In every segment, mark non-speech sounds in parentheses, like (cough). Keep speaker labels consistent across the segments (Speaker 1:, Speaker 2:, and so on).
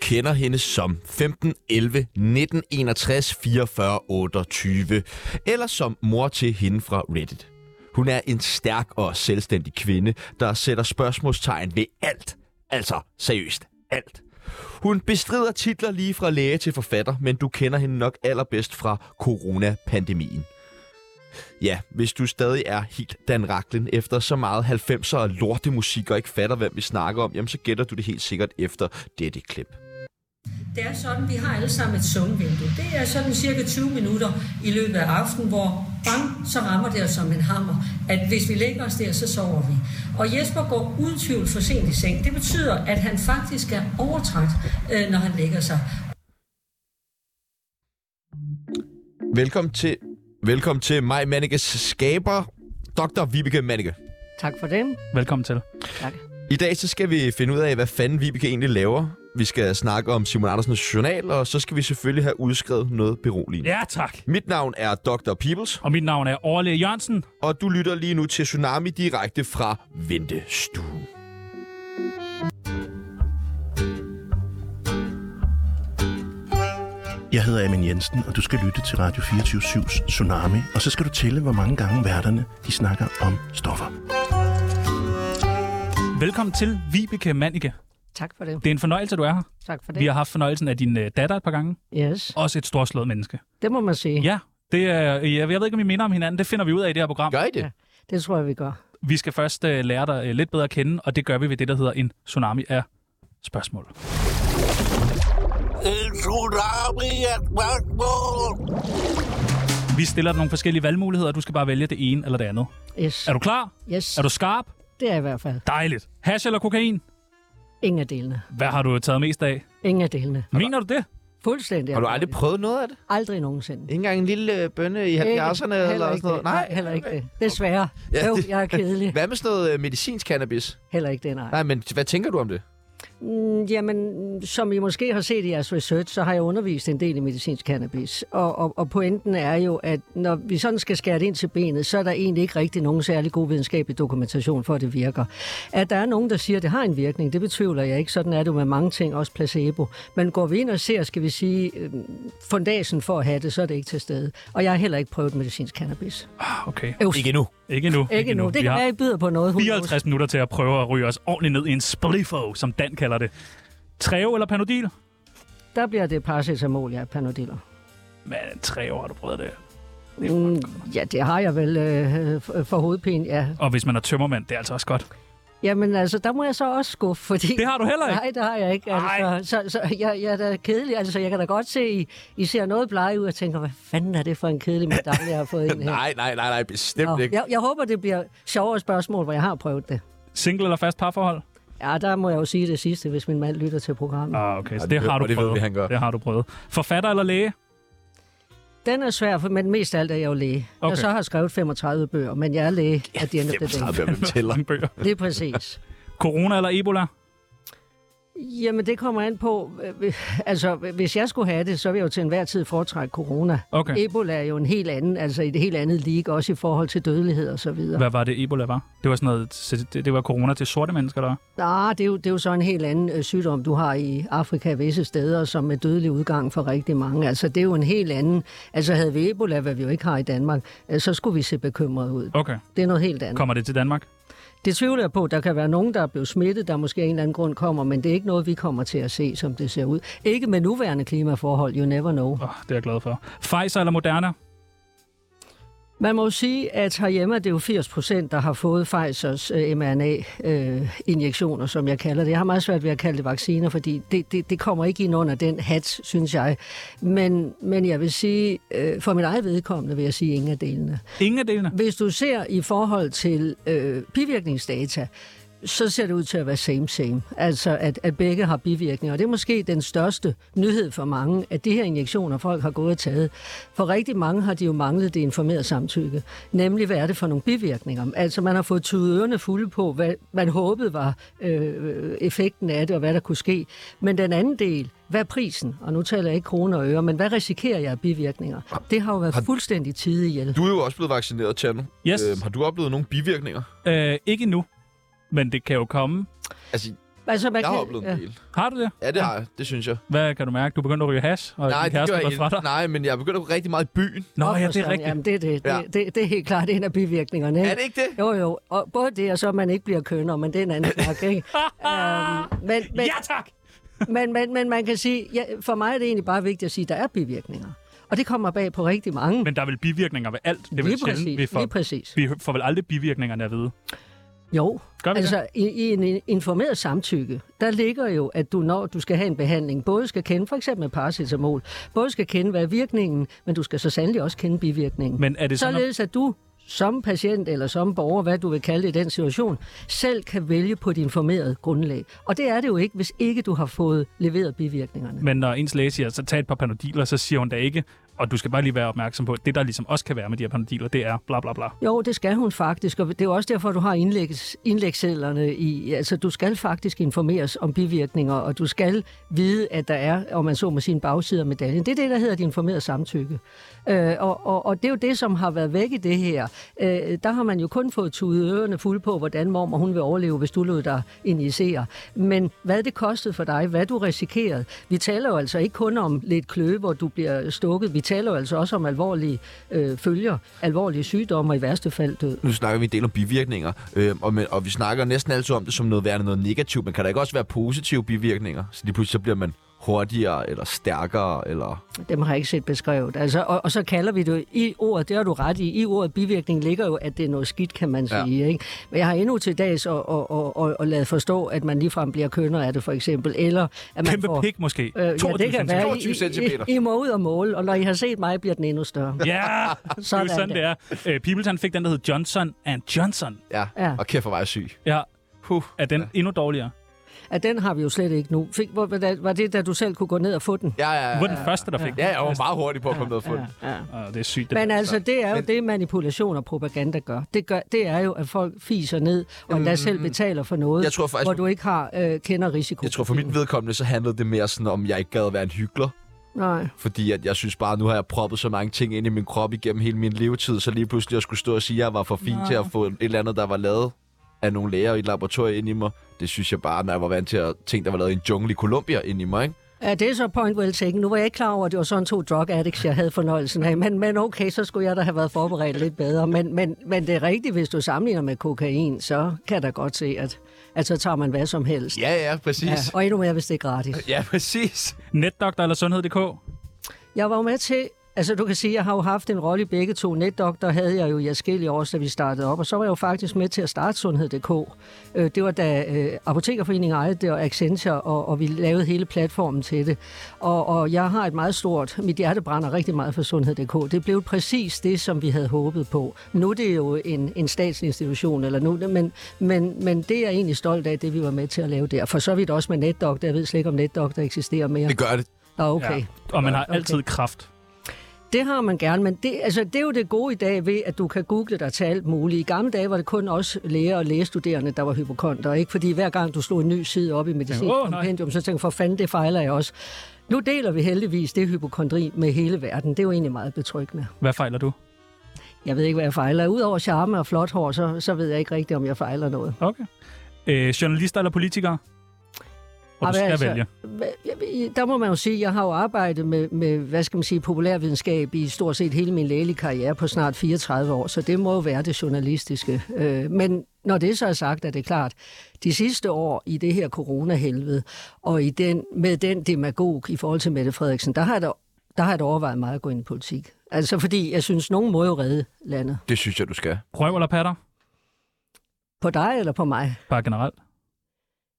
Speaker 1: kender hende som 15 11 19 61 44 28, eller som mor til hende fra Reddit. Hun er en stærk og selvstændig kvinde, der sætter spørgsmålstegn ved alt. Altså seriøst, alt. Hun bestrider titler lige fra læge til forfatter, men du kender hende nok allerbedst fra coronapandemien. Ja, hvis du stadig er helt Dan Raklen efter så meget 90'er og lortemusik og ikke fatter, hvem vi snakker om, jamen så gætter du det helt sikkert efter dette klip.
Speaker 2: Det er sådan, vi har alle sammen et søvnvindue. Det er sådan cirka 20 minutter i løbet af aftenen, hvor bang, så rammer det os som en hammer, at hvis vi lægger os der, så sover vi. Og Jesper går uden tvivl for sent i seng. Det betyder, at han faktisk er overtræt, øh, når han lægger sig.
Speaker 1: Velkommen til, velkommen til mig, Mannikes skaber, Dr. Vibeke Mannike.
Speaker 3: Tak for det.
Speaker 4: Velkommen til.
Speaker 3: Tak.
Speaker 1: I dag så skal vi finde ud af, hvad fanden Vibeke egentlig laver. Vi skal snakke om Simon Andersens journal, og så skal vi selvfølgelig have udskrevet noget beroligende.
Speaker 4: Ja, tak.
Speaker 1: Mit navn er Dr. Peoples,
Speaker 4: Og mit navn er Orle Jørgensen.
Speaker 1: og du lytter lige nu til Tsunami direkte fra Ventestuen.
Speaker 5: Jeg hedder Amin Jensen, og du skal lytte til Radio 24-7's Tsunami. Og så skal du tælle, hvor mange gange værterne de snakker om stoffer.
Speaker 4: Velkommen til Vibeke Mannike.
Speaker 3: Tak for det.
Speaker 4: Det er en fornøjelse, du er her.
Speaker 3: Tak for
Speaker 4: Vi
Speaker 3: det.
Speaker 4: har haft fornøjelsen af din øh, datter et par gange.
Speaker 3: Yes,
Speaker 4: Også et storslået menneske.
Speaker 3: det må man sige.
Speaker 4: Ja, det er, øh, jeg ved ikke, om vi minder om hinanden. Det finder vi ud af i det her program.
Speaker 1: Gør I det?
Speaker 3: Ja. Det tror jeg, vi gør.
Speaker 4: Vi skal først øh, lære dig øh, lidt bedre at kende, og det gør vi ved det, der hedder en tsunami af spørgsmål. Vi stiller dig nogle forskellige valgmuligheder, og du skal bare vælge det ene eller det andet.
Speaker 3: Yes.
Speaker 4: Er du klar?
Speaker 3: yes.
Speaker 4: Er du skarp?
Speaker 3: Det er i hvert fald
Speaker 4: Dejligt. Hash eller kokain?
Speaker 3: ingen af delene.
Speaker 4: Hvad har du taget mest af?
Speaker 3: Ingen af delene.
Speaker 4: Mener du det?
Speaker 3: Fuldstændig.
Speaker 1: Har du aldrig prøvet noget af det?
Speaker 3: Aldrig nogensinde.
Speaker 1: Ikke engang en lille øh, bønne i 70'erne
Speaker 3: Ikke-
Speaker 1: eller sådan
Speaker 3: heller ikke
Speaker 1: noget?
Speaker 3: det. Nej, heller ikke det. Desværre.
Speaker 1: Ja,
Speaker 3: Jo,
Speaker 1: det-
Speaker 3: jeg er
Speaker 4: (laughs)
Speaker 3: kedelig.
Speaker 1: Hvad med sådan noget øh, medicinsk cannabis?
Speaker 3: Heller ikke det, nej.
Speaker 1: Nej, men hvad tænker du om det?
Speaker 3: Mm, Jamen, som I måske har set i jeres research, så har jeg undervist en del i medicinsk cannabis. Og, og, og pointen er jo, at når vi sådan skal skære det ind til benet, så er der egentlig ikke rigtig nogen særlig god videnskabelig dokumentation for, at det virker. At der er nogen, der siger, at det har en virkning, det betvivler jeg ikke. Sådan er det jo med mange ting, også placebo. Men går vi ind og ser, skal vi sige, øh, fundasen for at have det, så er det ikke til stede. Og jeg har heller ikke prøvet medicinsk cannabis.
Speaker 4: Ah, Okay.
Speaker 3: Øvs.
Speaker 1: Ikke endnu.
Speaker 4: Ikke nu.
Speaker 3: Ikke endnu. Det
Speaker 4: Vi
Speaker 3: kan
Speaker 4: har
Speaker 3: være, I byder på noget. who knows?
Speaker 4: 54 minutter til at prøve at ryge os ordentligt ned i en spliffo, som Dan kalder det. Treo eller Panodil?
Speaker 3: Der bliver det paracetamol, ja, panodiller.
Speaker 4: Men Treo har du prøvet det.
Speaker 3: Mm, ja, det har jeg vel øh, for- for hovedpine, ja.
Speaker 4: Og hvis man er tømmermand, det er altså også godt.
Speaker 3: Jamen altså, der må jeg så også skuffe, fordi...
Speaker 4: Det har du heller ikke.
Speaker 3: Nej, det har jeg ikke.
Speaker 4: Ej.
Speaker 3: Altså, så, så jeg, jeg er da kedelig. Altså, jeg kan da godt se, I, I ser noget blege ud og tænker, hvad fanden er det for en kedelig medalje, jeg har fået
Speaker 4: (laughs)
Speaker 3: ind her?
Speaker 1: Nej, nej, nej, nej, bestemt
Speaker 3: Nå,
Speaker 1: ikke.
Speaker 3: jeg, jeg håber, det bliver sjovere spørgsmål, hvor jeg har prøvet det.
Speaker 4: Single eller fast parforhold?
Speaker 1: Mm.
Speaker 3: Ja, der må jeg jo sige det sidste, hvis min mand lytter til programmet.
Speaker 4: Ah, okay. Så
Speaker 1: det
Speaker 4: det,
Speaker 1: ved-
Speaker 4: har du
Speaker 1: og det ved
Speaker 4: prøvet.
Speaker 1: vi, han gør.
Speaker 4: Det har du prøvet. Forfatter eller læge?
Speaker 3: Den er svær, for, men mest af alt er jeg jo læge. Okay.
Speaker 4: Okay.
Speaker 3: Jeg så har skrevet 35 bøger, men jeg er læge at the end of the day.
Speaker 1: 35,
Speaker 3: (laughs)
Speaker 1: hvem tæller?
Speaker 4: Mange (laughs) bøger.
Speaker 3: Det er præcis.
Speaker 4: Corona eller Ebola?
Speaker 3: Jamen, det kommer an på. øh, (laughs) Altså, hvis jeg skulle have det, så ville jeg jo til enhver tid foretrække corona.
Speaker 4: Okay.
Speaker 3: Ebola er jo en helt anden, altså i det helt andet lig, også i forhold til dødelighed og så videre.
Speaker 4: Hvad var det, Ebola var? Det var sådan noget, det, det var corona til sorte mennesker, der
Speaker 3: Nej, det, er jo- det er jo så en helt anden øh, sygdom, du har i Afrika visse steder, som er dødelig udgang for rigtig mange. Altså, det er jo en helt anden... Altså, havde vi Ebola, hvad vi jo ikke har i Danmark, øh, så skulle vi se bekymrede ud.
Speaker 4: Okay.
Speaker 3: Det er noget helt andet.
Speaker 4: Kommer det til Danmark?
Speaker 3: Det tvivler jeg på. Der kan være nogen, der er blevet smittet, der måske af en eller anden grund kommer, men det er ikke noget, vi kommer til at se, som det ser ud. Ikke med nuværende klimaforhold, you never know.
Speaker 4: Oh, det er jeg glad for. Pfizer eller Moderna?
Speaker 3: Man må jo sige, at herhjemme er det jo 80 procent, der har fået Pfizers øh, mRNA-injektioner, som jeg kalder det. Jeg har meget svært ved at kalde det vacciner, fordi det, det, det kommer ikke ind under den hat, synes jeg. Men, men jeg vil sige, øh, for mit eget vedkommende vil jeg sige ingen af delene.
Speaker 4: Ingen af delene?
Speaker 3: Hvis du ser i forhold til øh, bivirkningsdata, så ser det ud til at være same same. Altså, at, at begge har bivirkninger. Og det er måske den største nyhed for mange, at de her injektioner, folk har gået og taget. For rigtig mange har de jo manglet det informerede samtykke. Nemlig, hvad er det for nogle bivirkninger? Altså, man har fået tydet ørerne fulde på, hvad man håbede var øh, effekten af det, og hvad der kunne ske. Men den anden del, hvad er prisen? Og nu taler jeg ikke kroner og øre, men hvad risikerer jeg af bivirkninger? Det har jo været fuldstændig tid ihjel.
Speaker 1: Du er jo også blevet vaccineret, Tjerno. Øhm,
Speaker 4: Yes.
Speaker 1: har du oplevet nogle bivirkninger?
Speaker 4: Øh, ikke endnu, men det kan jo komme.
Speaker 1: Altså,
Speaker 3: Altså, man
Speaker 1: Jeg har
Speaker 3: kan-
Speaker 1: oplevet
Speaker 3: ja.
Speaker 1: en del.
Speaker 4: Har du det?
Speaker 1: Ja, det har jeg. Det synes jeg.
Speaker 4: Hvad kan du mærke? Du begyndte at ryge hash, og
Speaker 1: Nej,
Speaker 4: din
Speaker 1: det
Speaker 4: kæreste
Speaker 1: gør jeg
Speaker 4: var fra dig.
Speaker 1: ikke. Nej, men jeg er begyndt at gå rigtig meget i byen.
Speaker 4: Nå, ja, det er
Speaker 3: Opforstand,
Speaker 4: rigtigt.
Speaker 3: Jamen, det er det.
Speaker 1: Ja.
Speaker 3: Det, det, det er helt klart en af bivirkningerne. Ikke?
Speaker 1: Er det ikke det?
Speaker 3: Jo, jo. Og både det, og så at man ikke bliver kønner, men det er en anden snak,
Speaker 4: (laughs)
Speaker 3: ikke? øhm, men, men,
Speaker 4: Ja, tak!
Speaker 3: men, men, men man kan sige, ja, for mig er det egentlig bare vigtigt at sige, at der er bivirkninger. Og det kommer bag på rigtig mange.
Speaker 4: Men der er vel bivirkninger ved alt. Det er vel
Speaker 3: lige
Speaker 4: sjældent,
Speaker 3: præcis.
Speaker 4: vi får,
Speaker 3: Lige præcis.
Speaker 4: vi får vel aldrig bivirkningerne at vide.
Speaker 3: Jo,
Speaker 4: Gør vi
Speaker 3: altså i, i en in- informeret samtykke, der ligger jo, at du når du skal have en behandling, både skal kende, for eksempel paracetamol, både skal kende, hvad er virkningen, men du skal så sandelig også kende bivirkningen.
Speaker 4: Men er det sådan,
Speaker 3: Således at du som patient eller som borger, hvad du vil kalde det i den situation, selv kan vælge på et informeret grundlag. Og det er det jo ikke, hvis ikke du har fået leveret bivirkningerne.
Speaker 4: Men når ens læge siger, så tag et par panodiler, så siger hun da ikke, og du skal bare lige være opmærksom på, at det der ligesom også kan være med de her panodiler, det er bla bla bla.
Speaker 3: Jo, det skal hun faktisk, og det er jo også derfor, du har indlægs, indlægssedlerne i. Altså, du skal faktisk informeres om bivirkninger, og du skal vide, at der er, om man så må sige, en bagside af medaljen. Det er det, der hedder et informeret samtykke. Øh, og, og, og det er jo det, som har været væk i det her. Øh, der har man jo kun fået tudet ørerne fulde på, hvordan mormor hun vil overleve, hvis du lod dig injicere. Men hvad det kostede for dig, hvad du risikerede. Vi taler jo altså ikke kun om lidt kløe, hvor du bliver stukket. Vi taler jo altså også om alvorlige øh, følger, alvorlige sygdomme og i værste fald død.
Speaker 1: Nu snakker vi en del om bivirkninger, øh, og, men, og vi snakker næsten altid om det som noget værende noget negativt, men kan der ikke også være positive bivirkninger? Så lige pludselig så bliver man hurtigere, eller stærkere, eller...
Speaker 3: Dem har jeg ikke set beskrevet. Altså, og, og så kalder vi det jo i ordet, det har du ret i, i ordet bivirkning ligger jo, at det er noget skidt, kan man
Speaker 1: Ja.
Speaker 3: sige. Ikke? Men jeg har endnu til dags og, og, og, og, og lavet forstå, at man ligefrem bliver kønner af det, for eksempel. Eller at man
Speaker 4: Kæmpe
Speaker 3: får,
Speaker 4: pik måske.
Speaker 3: Øh, ja, det kan være. I-
Speaker 1: 22 centimeter.
Speaker 3: I, I, I må ud og måle, og når I har set mig, bliver den endnu større. (laughs)
Speaker 4: Ja, det er jo
Speaker 3: Sådan
Speaker 4: sådan, det er. Øh, Peebles, han fik den, der hed Johnson and Johnson.
Speaker 1: Ja,
Speaker 3: Ja.
Speaker 1: og kæft for mig syg.
Speaker 4: Ja,
Speaker 1: Huh.
Speaker 4: er den endnu dårligere?
Speaker 3: At den har vi jo slet ikke nu. Fik, hvor, hvordan- var det, da du selv kunne gå ned og få den?
Speaker 1: Ja, ja,
Speaker 4: Du
Speaker 1: ja.
Speaker 4: var den første, der fik
Speaker 1: Ja, jeg var meget hurtig på at komme ned og få den.
Speaker 3: Ja.
Speaker 4: den. Åh, det er sygt. Det
Speaker 3: Men
Speaker 4: der.
Speaker 3: altså, det er jo
Speaker 1: Men-
Speaker 3: det, manipulation og propaganda gør. Det, gør, det er jo, at folk fiser ned, og endda selv betaler for noget,
Speaker 1: Mm. Jeg tror faktisk-
Speaker 3: hvor du ikke har øh, kender risiko.
Speaker 1: Jeg tror for mit vedkommende, så handlede det mere sådan om, jeg ikke gad at være en hyggelig.
Speaker 3: Nej.
Speaker 1: Fordi at jeg synes bare, nu har jeg proppet så mange ting ind i min krop igennem hele min levetid, så lige pludselig at skulle stå og sige, at jeg var for fin til at få et eller andet, der var lavet af nogle læger i et laboratorium ind i mig. Det synes jeg bare, når jeg var vant til at tænke, der var lavet i en jungle i Colombia ind i mig, ikke?
Speaker 3: Ja, det er så point well taken. Nu var jeg ikke klar over, at det var sådan to drug addicts, jeg havde fornøjelsen af. Men, men okay, så skulle jeg da have været forberedt lidt bedre. Men, men, men det er rigtigt, hvis du sammenligner med kokain, så kan der godt se, at, at så tager man hvad som helst.
Speaker 1: Ja, ja, præcis. Ja,
Speaker 3: og endnu mere, hvis det er gratis.
Speaker 1: ja præcis.
Speaker 3: øh-
Speaker 4: Netdoktor eller sundhed.dk?
Speaker 3: Jeg var jo med til, altså du kan sige, jeg har jo haft en rolle i begge to. Netdoktor havde jeg jo i forskellige år, da vi startede op, og så var jeg jo faktisk med til at starte Sundhed.dk. Øh, Det var da øh, Apotekerforeningen ejede det, og Accenture, og, og vi lavede hele platformen til det. Og, og jeg har et meget stort, mit hjerte brænder rigtig meget for Sundhed.dk. Det blev præcis det, som vi havde håbet på. Nu er det jo en, en statsinstitution, eller nu, men, men, men det er jeg egentlig stolt af, det vi var med til at lave der. For så vidt også med Netdoktor. Jeg ved slet ikke, om Netdoktor eksisterer mere.
Speaker 1: Det gør det.
Speaker 3: Nå, okay. Ja.
Speaker 4: Og man har altid kraft.
Speaker 3: Det har man gerne, men det, altså, det er jo det gode i dag ved, at du kan google dig til alt muligt. I gamle dage var det kun også læger og lægestuderende, der var hypokonter, ikke? Fordi hver gang du slog en ny side op i medicinsk
Speaker 4: Åh,
Speaker 3: oh,
Speaker 4: nej.
Speaker 3: kompendium, så tænkte jeg, for fanden, det fejler jeg også. Nu deler vi heldigvis det hypokondri med hele verden. Det er jo egentlig meget betryggende.
Speaker 4: Hvad fejler du?
Speaker 3: Jeg ved ikke, hvad jeg fejler. Udover charme og flot hår, så, så ved jeg ikke rigtigt, om jeg fejler noget.
Speaker 4: Okay. Øh, journalister eller politikere? Og du
Speaker 3: Jamen,
Speaker 4: skal
Speaker 3: altså,
Speaker 4: vælge.
Speaker 3: hva- jeg- Der må man jo sige, jeg har jo arbejdet med, med, hvad skal man sige, populærvidenskab i stort set hele min lægelige karriere på snart 34 år, så det må jo være det journalistiske. Øh, Men når det så er sagt, er det klart, de sidste år i det her coronahelvede, og i den, med den demagog i forhold til Mette Frederiksen, der har jeg da, der har jeg da overvejet meget at gå ind i politik. Altså fordi, jeg synes, nogen må jo redde landet.
Speaker 1: Det synes jeg, du skal.
Speaker 4: Røv eller patter?
Speaker 3: På dig eller på mig?
Speaker 4: Bare generelt.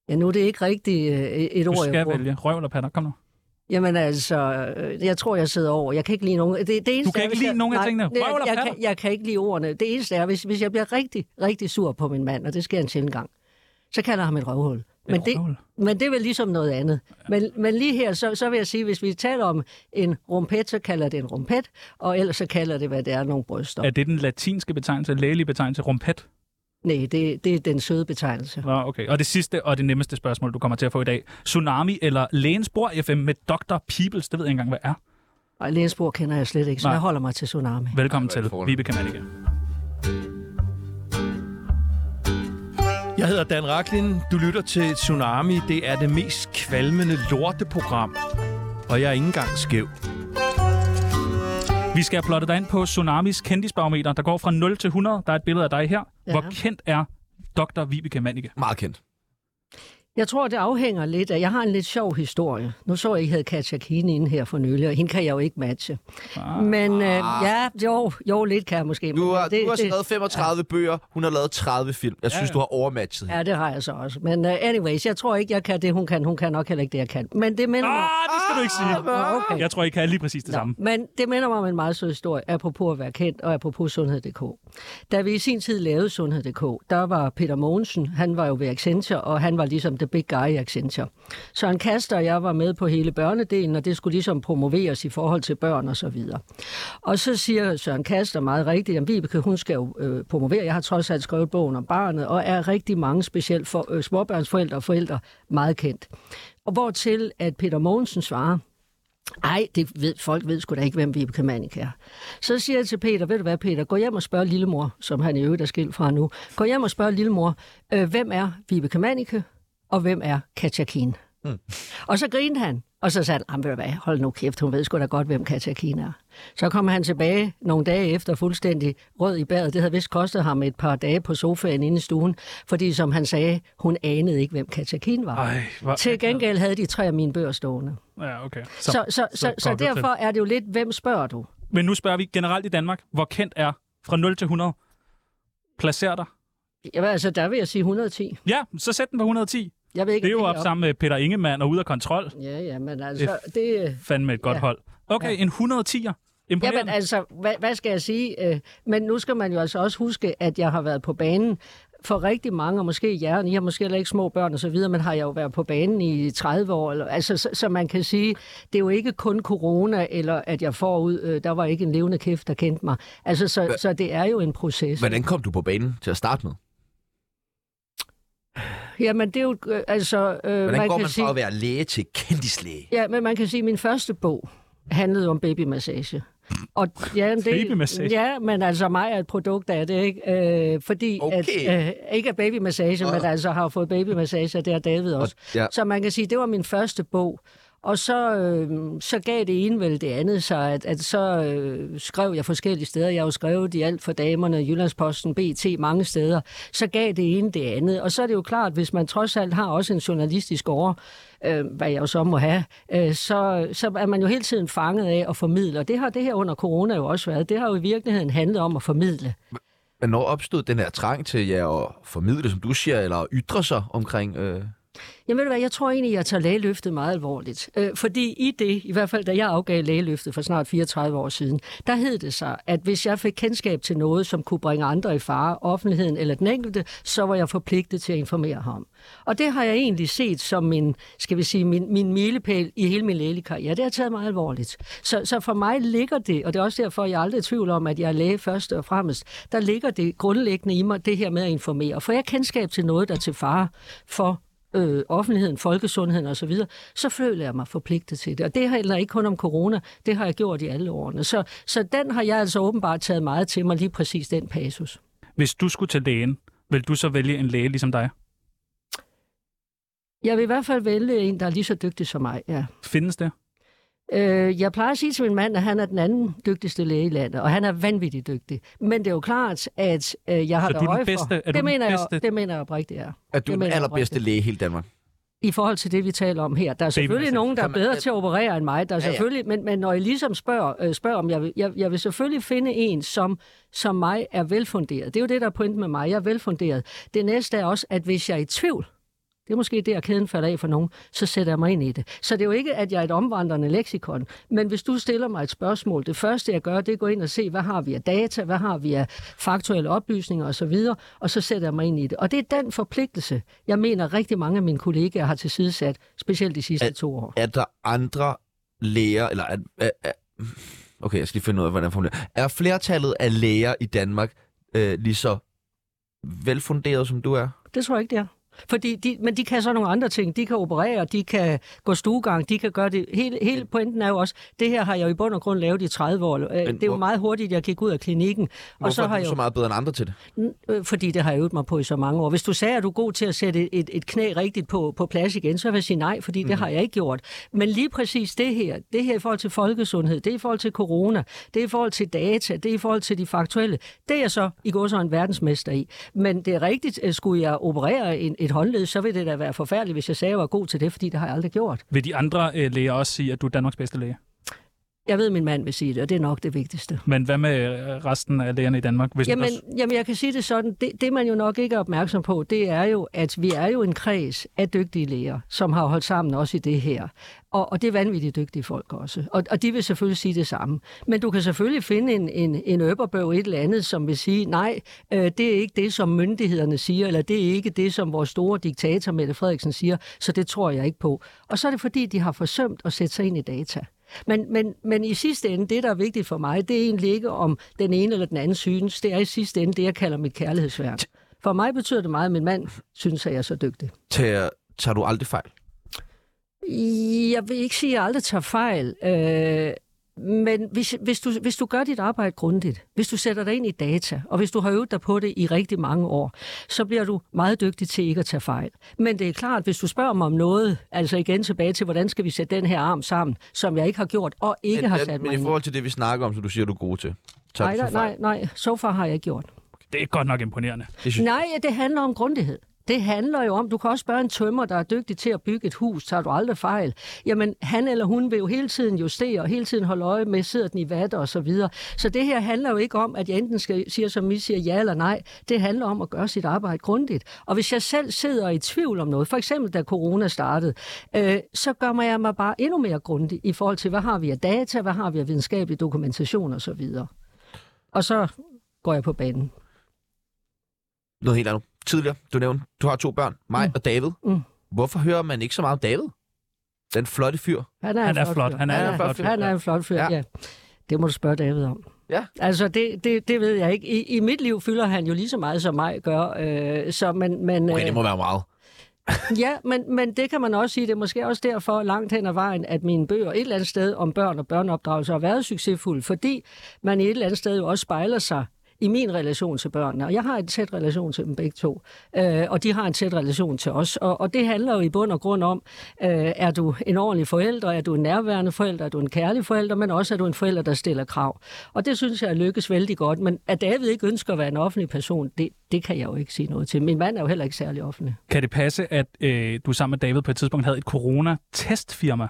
Speaker 3: Ja, nu er det ikke rigtigt øh, et
Speaker 4: Du
Speaker 3: ord, jeg
Speaker 4: skal
Speaker 3: bruger.
Speaker 4: vælge. Røv eller patter? Kom nu.
Speaker 3: Jamen altså, øh, jeg tror, jeg sidder over. Jeg kan ikke lide nogen. Det, det eneste
Speaker 4: kan
Speaker 3: er,
Speaker 4: ikke
Speaker 3: hvis
Speaker 4: lide
Speaker 3: jeg,
Speaker 4: nogen af tingene?
Speaker 3: nej,
Speaker 4: Røv eller
Speaker 3: jeg,
Speaker 4: patter?
Speaker 3: kan, jeg kan ikke lide ordene. Det eneste er, hvis, hvis jeg bliver rigtig, rigtig sur på min mand, og det sker en sjældent gang, så kalder jeg ham et røvhul. Men det,
Speaker 4: røvhul?
Speaker 3: men det er vel ligesom noget andet. Men, men lige her, så, så vil jeg sige, hvis vi taler om en rumpet, så kalder det en rumpet, og ellers så kalder det, hvad det er, nogle bryster.
Speaker 4: Er det den latinske betegnelse, lægelige betegnelse, rumpet?
Speaker 3: Nej, det, det er den søde betegnelse.
Speaker 4: Nå, okay. Og det sidste og det nemmeste spørgsmål, du kommer til at få i dag. Tsunami eller lægens bord FM med Dr. Peoples? Det ved jeg ikke engang, hvad er.
Speaker 3: Og Lænsborg kender jeg slet ikke, så
Speaker 4: Nej.
Speaker 3: jeg holder mig til tsunami.
Speaker 4: Velkommen til
Speaker 1: fornemt.
Speaker 4: Vibeke Mannicke.
Speaker 6: Jeg hedder Dan Raklin. Du lytter til Tsunami. Det er det mest kvalmende lorteprogram. Og jeg er ikke engang skæv.
Speaker 4: Vi skal have plottet dig ind på Tsunamis kendisbarometer, der går fra 0 til 100. Der er et billede af dig her.
Speaker 3: Ja.
Speaker 4: Ja. Hvor kendt er Dr. Vibeke Mannicke?
Speaker 1: Meget kendt.
Speaker 3: Jeg tror, det afhænger lidt af... Jeg har en lidt sjov historie. Nu så jeg, I havde Katja Kine inde her for nylig, og hende kan jeg jo ikke matche. Ah. Men øh, ja, jo, jo, lidt kan jeg måske.
Speaker 1: Du
Speaker 3: men øh,
Speaker 1: har,
Speaker 3: det,
Speaker 1: du har
Speaker 3: det-
Speaker 1: skrevet 35 bøger, hun har lavet 30 film. Jeg synes, du har overmatchet hende.
Speaker 3: Ja, det har jeg så også. Men uh, anyways, jeg tror ikke, jeg kan det, hun kan. Hun kan nok heller ikke det, jeg kan. Men det minder mig...
Speaker 4: Ah, det skal du ikke sige.
Speaker 3: Nå, okay.
Speaker 4: Jeg tror, I kan lige præcis det samme.
Speaker 3: Nå, men det minder mig om en meget sød historie, apropos at være kendt, og apropos Sundhed.dk. Da vi i sin tid lavede Sundhed.dk, der var Peter Mogensen, han var jo ved Accenture, og han var ligesom the big guy i Accenture. Søren Kaster og jeg var med på hele børnedelen, og det skulle ligesom promoveres i forhold til børn og så videre. Og så siger Søren Kaster meget rigtigt, at Vibeke, hun skal jo øh, promovere. Jeg har trods alt skrevet bogen om barnet, og er rigtig mange specielt for, øh, småbørnsforældre og forældre meget kendt. Og hvortil, at Peter Mogensen svarer, ej, det ved, folk ved sgu da ikke, hvem Vibeke Mannik er. Så siger jeg til Peter, ved du hvad Peter, gå hjem og spørg lillemor, som han i øvrigt er skilt fra nu. Gå hjem og spørg lillemor, øh, hvem er Vibeke Mannicke, og hvem er Katja Keen? Mm. Og så grinede han, og så sagde han, "Jamen, ved du hvad, hold nu kæft, hun ved sgu da godt, hvem Katja Keen er. Så kom han tilbage nogle dage efter, fuldstændig rød i bæret. Det havde vist kostet ham et par dage på sofaen inde i stuen, fordi som han sagde, hun anede ikke, hvem Katja Keen var.
Speaker 4: Ej, hvor...
Speaker 3: Til gengæld havde de tre af mine bøger stående.
Speaker 4: Ja, okay.
Speaker 3: Så, så, så, så, så
Speaker 4: godt
Speaker 3: derfor er det jo lidt, hvem spørger du?
Speaker 4: til. Men nu spørger vi generelt i Danmark, hvor kendt er fra 0 til 100? Placer dig.
Speaker 3: Jamen, altså, der vil jeg sige 110.
Speaker 4: Ja, så sæt den på 110.
Speaker 3: Jeg ved ikke,
Speaker 4: Det er jo
Speaker 3: om
Speaker 4: op sammen med Peter Ingemann og Ude af Kontrol.
Speaker 3: Ja, ja, men altså, det...
Speaker 4: Fandme et godt
Speaker 3: Ja.
Speaker 4: hold. Okay, en 110'er. Imponerende.
Speaker 3: Jamen, altså, hvad, hvad skal jeg sige? Øh, Men nu skal man jo altså også huske, at jeg har været på banen for rigtig mange, og måske jer, og I har måske heller ikke små børn og så videre, men har jeg jo været på banen i 30 år. Eller, altså, så, så man kan sige, det er jo ikke kun corona, eller at jeg får ud, øh, der var ikke en levende kæft, der kendte mig. Altså, så, så det er jo en proces.
Speaker 1: Hvordan kom du på banen til at starte med?
Speaker 3: Jamen, det er jo, øh, altså... Øh,
Speaker 1: Hvordan
Speaker 3: man
Speaker 1: går
Speaker 3: kan
Speaker 1: man
Speaker 3: sige...
Speaker 1: fra at være læge til kendislæge?
Speaker 3: Ja, men man kan sige, at min første bog handlede om babymassage. Og, ja, men det,
Speaker 4: Babymassage?
Speaker 3: Ja, men altså mig er et produkt af det, ikke? Øh, fordi
Speaker 1: Okay.
Speaker 3: at, øh, ikke er babymassage, men altså har fået babymassage, og det har David også.
Speaker 1: ja.
Speaker 3: Så man kan sige, at det var min første bog. Og så, øh, så gav det ene vel det andet sig, at, at så øh, skrev jeg forskellige steder. Jeg har jo skrevet i alt for damerne, Jyllandsposten, BT, mange steder. Så gav det ene det andet. Og så er det jo klart, hvis man trods alt har også en journalistisk over, øh, hvad jeg jo så må have, øh, så, så er man jo hele tiden fanget af at formidle. Og det har det her under corona jo også været. Det har jo i virkeligheden handlet om at formidle.
Speaker 1: Hvornår opstod den her trang til ja, at formidle, som du siger, eller at ytre sig omkring... Øh...
Speaker 3: Jamen ved du hvad, jeg tror egentlig, jeg tager lægeløftet meget alvorligt. Øh, fordi i det, i hvert fald da jeg afgav lægeløftet for snart 34 år siden, der hed det sig, at hvis jeg fik kendskab til noget, som kunne bringe andre i fare, offentligheden eller den enkelte, så var jeg forpligtet til at informere ham. Og det har jeg egentlig set som min, skal vi sige, min, min milepæl i hele min lægelige karriere. Det har jeg taget meget alvorligt. Så, så for mig ligger det, og det er også derfor, jeg er aldrig i tvivl om, at jeg er læge først og fremmest, der ligger det grundlæggende i mig, det her med at informere. For jeg kendskab til noget, der er til fare for øh, offentligheden, folkesundheden osv., så, videre, så føler jeg mig forpligtet til det. Og det handler ikke kun om corona, det har jeg gjort i alle årene. Så, så den har jeg altså åbenbart taget meget til mig, lige præcis den passus.
Speaker 4: Hvis du skulle til lægen, vil du så vælge en læge ligesom dig?
Speaker 3: Jeg vil i hvert fald vælge en, der er lige så dygtig som mig, ja.
Speaker 4: Findes det?
Speaker 3: Øh, jeg plejer at sige til min mand, at han er den anden dygtigste læge i landet, og han er vanvittigt dygtig. Men det er jo klart, at øh, jeg har
Speaker 4: Så
Speaker 3: da
Speaker 4: du er den
Speaker 3: øje
Speaker 4: bedste-
Speaker 3: for...
Speaker 4: er du
Speaker 3: det,
Speaker 4: den
Speaker 3: mener Jeg,
Speaker 4: bedste?
Speaker 3: det mener jeg oprigtigt, ja.
Speaker 1: Er du
Speaker 3: Det
Speaker 1: den
Speaker 3: mener jeg
Speaker 1: allerbedste
Speaker 3: oprigtigt.
Speaker 1: læge i hele Danmark?
Speaker 3: i forhold til det, vi taler om her. Der er selvfølgelig
Speaker 4: massage.
Speaker 3: nogen, der er
Speaker 1: Kan man-
Speaker 3: bedre til at operere end mig. Der er
Speaker 1: Ja, ja.
Speaker 3: selvfølgelig, Men, men når I ligesom spørger, øh, spørger om, jeg vil, jeg, jeg vil selvfølgelig finde en, som, som mig er velfunderet. Det er jo det, der er pointen med mig. Jeg er velfunderet. Det næste er også, at hvis jeg er i tvivl, det er måske der, kæden falder af for nogen, så sætter jeg mig ind i det. Så det er jo ikke, at jeg er et omvandrende leksikon, men hvis du stiller mig et spørgsmål, det første jeg gør, det er at gå ind og se, hvad har vi af data, hvad har vi af faktuelle oplysninger osv., og så sætter jeg mig ind i det. Og det er den forpligtelse, jeg mener rigtig mange af mine kollegaer har tilsidesat, specielt de sidste to år.
Speaker 1: Er der andre læger, eller er, er, er, okay, jeg skal lige finde ud af, hvordan jeg formulerer. Er flertallet af læger i Danmark øh, lige så velfunderet, som du er?
Speaker 3: Det tror jeg ikke, det er. Fordi de, men de kan så nogle andre ting. De kan operere, de kan gå stuegang, de kan gøre det. Hele, hele pointen er jo også, det her har jeg jo i bund og grund lavet i 30 år. Øh, det er
Speaker 1: hvor-
Speaker 3: jo meget hurtigt, jeg gik ud af klinikken.
Speaker 1: Hvorfor
Speaker 3: og så har
Speaker 1: er
Speaker 3: jeg
Speaker 1: du
Speaker 3: jo-
Speaker 1: så meget bedre end andre til det?
Speaker 3: Øh, fordi det har jeg øvet mig på i så mange år. Hvis du sagde, at du er god til at sætte et, et knæ rigtigt på, på plads igen, så vil jeg sige nej, fordi det har jeg ikke gjort. Men lige præcis det her, det her i forhold til folkesundhed, det er i forhold til corona, det er i forhold til data, det er i forhold til de faktuelle, det er jeg så i går så en verdensmester i. Men det er rigtigt, øh, skulle jeg operere en, et håndled, så ville det da være forfærdeligt, hvis jeg sagde, at jeg var god til det, fordi det har jeg aldrig gjort.
Speaker 4: Vil de andre øh, læger også sige, at du er Danmarks bedste læge?
Speaker 3: Jeg ved, at min mand vil sige det, og det er nok det vigtigste.
Speaker 4: Men hvad med øh, resten af lægerne i Danmark? Hvis
Speaker 3: Jamen,
Speaker 4: Også,
Speaker 3: jamen, jeg kan sige det sådan. Det, det, man jo nok ikke er opmærksom på, det er jo, at vi er jo en kreds af dygtige læger, som har holdt sammen også i det her. Og, og det er vanvittigt dygtige folk også. Og, og de vil selvfølgelig sige det samme. Men du kan selvfølgelig finde en, en, en øpperbøv et eller andet, som vil sige, nej, øh, det er ikke det, som myndighederne siger, eller det er ikke det, som vores store diktator Mette Frederiksen siger, så det tror jeg ikke på. Og så er det, fordi de har forsømt at sætte sig ind i data. Men, men, men i sidste ende, det der er vigtigt for mig, det er egentlig ikke om den ene eller den anden synes. Det er i sidste ende det, jeg kalder mit kærlighedsværk. For mig betyder det meget, at min mand synes, at jeg er så dygtig.
Speaker 1: Tager, tager du aldrig fejl?
Speaker 3: Jeg vil ikke sige, at jeg aldrig tager fejl. Øh, men hvis, hvis, du, hvis du gør dit arbejde grundigt, hvis du sætter dig ind i data, og hvis du har øvet dig på det i rigtig mange år, så bliver du meget dygtig til ikke at tage fejl. Men det er klart, hvis du spørger mig om noget, altså igen tilbage til, hvordan skal vi sætte den her arm sammen, som jeg ikke har gjort og ikke
Speaker 1: men,
Speaker 3: har
Speaker 1: men-
Speaker 3: sat
Speaker 1: men
Speaker 3: mig
Speaker 1: i
Speaker 3: ind i.
Speaker 1: forhold til det, vi snakker om, som du siger, du er god til. Tager
Speaker 3: Nej,
Speaker 1: du så
Speaker 3: nej,
Speaker 1: fejl?
Speaker 3: nej, nej, så far har jeg ikke gjort.
Speaker 4: det er godt nok imponerende.
Speaker 1: Det synes,
Speaker 3: Nej, det handler om grundighed. Det handler jo om, du kan også spørge en tømmer, der er dygtig til at bygge et hus, tager du aldrig fejl. Jamen, han eller hun vil jo hele tiden justere, og hele tiden holde øje med, sidder den i vatter og så videre. Så det her handler jo ikke om, at jeg enten skal sige, som I siger, ja eller nej. Det handler om at gøre sit arbejde grundigt. Og hvis jeg selv sidder i tvivl om noget, for eksempel da corona startede, øh, så gør jeg mig bare endnu mere grundig i forhold til, hvad har vi af data, hvad har vi af videnskabelig dokumentation og så videre. Og så går jeg på banen.
Speaker 1: noget helt andet. Tidligere, du nævnte, du har to børn, mig mm. og David.
Speaker 3: Mm.
Speaker 1: Hvorfor hører man ikke så meget om David? Den flotte fyr.
Speaker 3: Han er,
Speaker 4: Han
Speaker 3: en
Speaker 4: er flot.
Speaker 3: fyr.
Speaker 4: Han er en flot fyr.
Speaker 3: Han er en flot fyr,
Speaker 1: Ja.
Speaker 3: ja. ja. Det må du spørge David om.
Speaker 1: Ja.
Speaker 3: Altså, det, det, det ved jeg ikke. I, I mit liv fylder han jo lige så meget, som mig gør. Øh, så øh, man, man,
Speaker 1: Okay, det må være meget.
Speaker 3: Ja, men, men det kan man også sige. Det er måske også derfor langt hen ad vejen, at mine bøger et eller andet sted om børn og børneopdragelse har været succesfulde, fordi man et eller andet sted jo også spejler sig i min relation til børnene, og jeg har en tæt relation til dem begge to, øh, og de har en tæt relation til os, og, og det handler jo i bund og grund om, øh, er du en ordentlig forælder, er du en nærværende forælder, er du en kærlig forælder, men også er du en forælder, der stiller krav. Og det synes jeg lykkes vældig godt, men at David ikke ønsker at være en offentlig person, det, det kan jeg jo ikke sige noget til. Min mand er jo heller ikke særlig offentlig.
Speaker 4: Kan det passe, at øh, du sammen med David på et tidspunkt havde et corona-testfirma?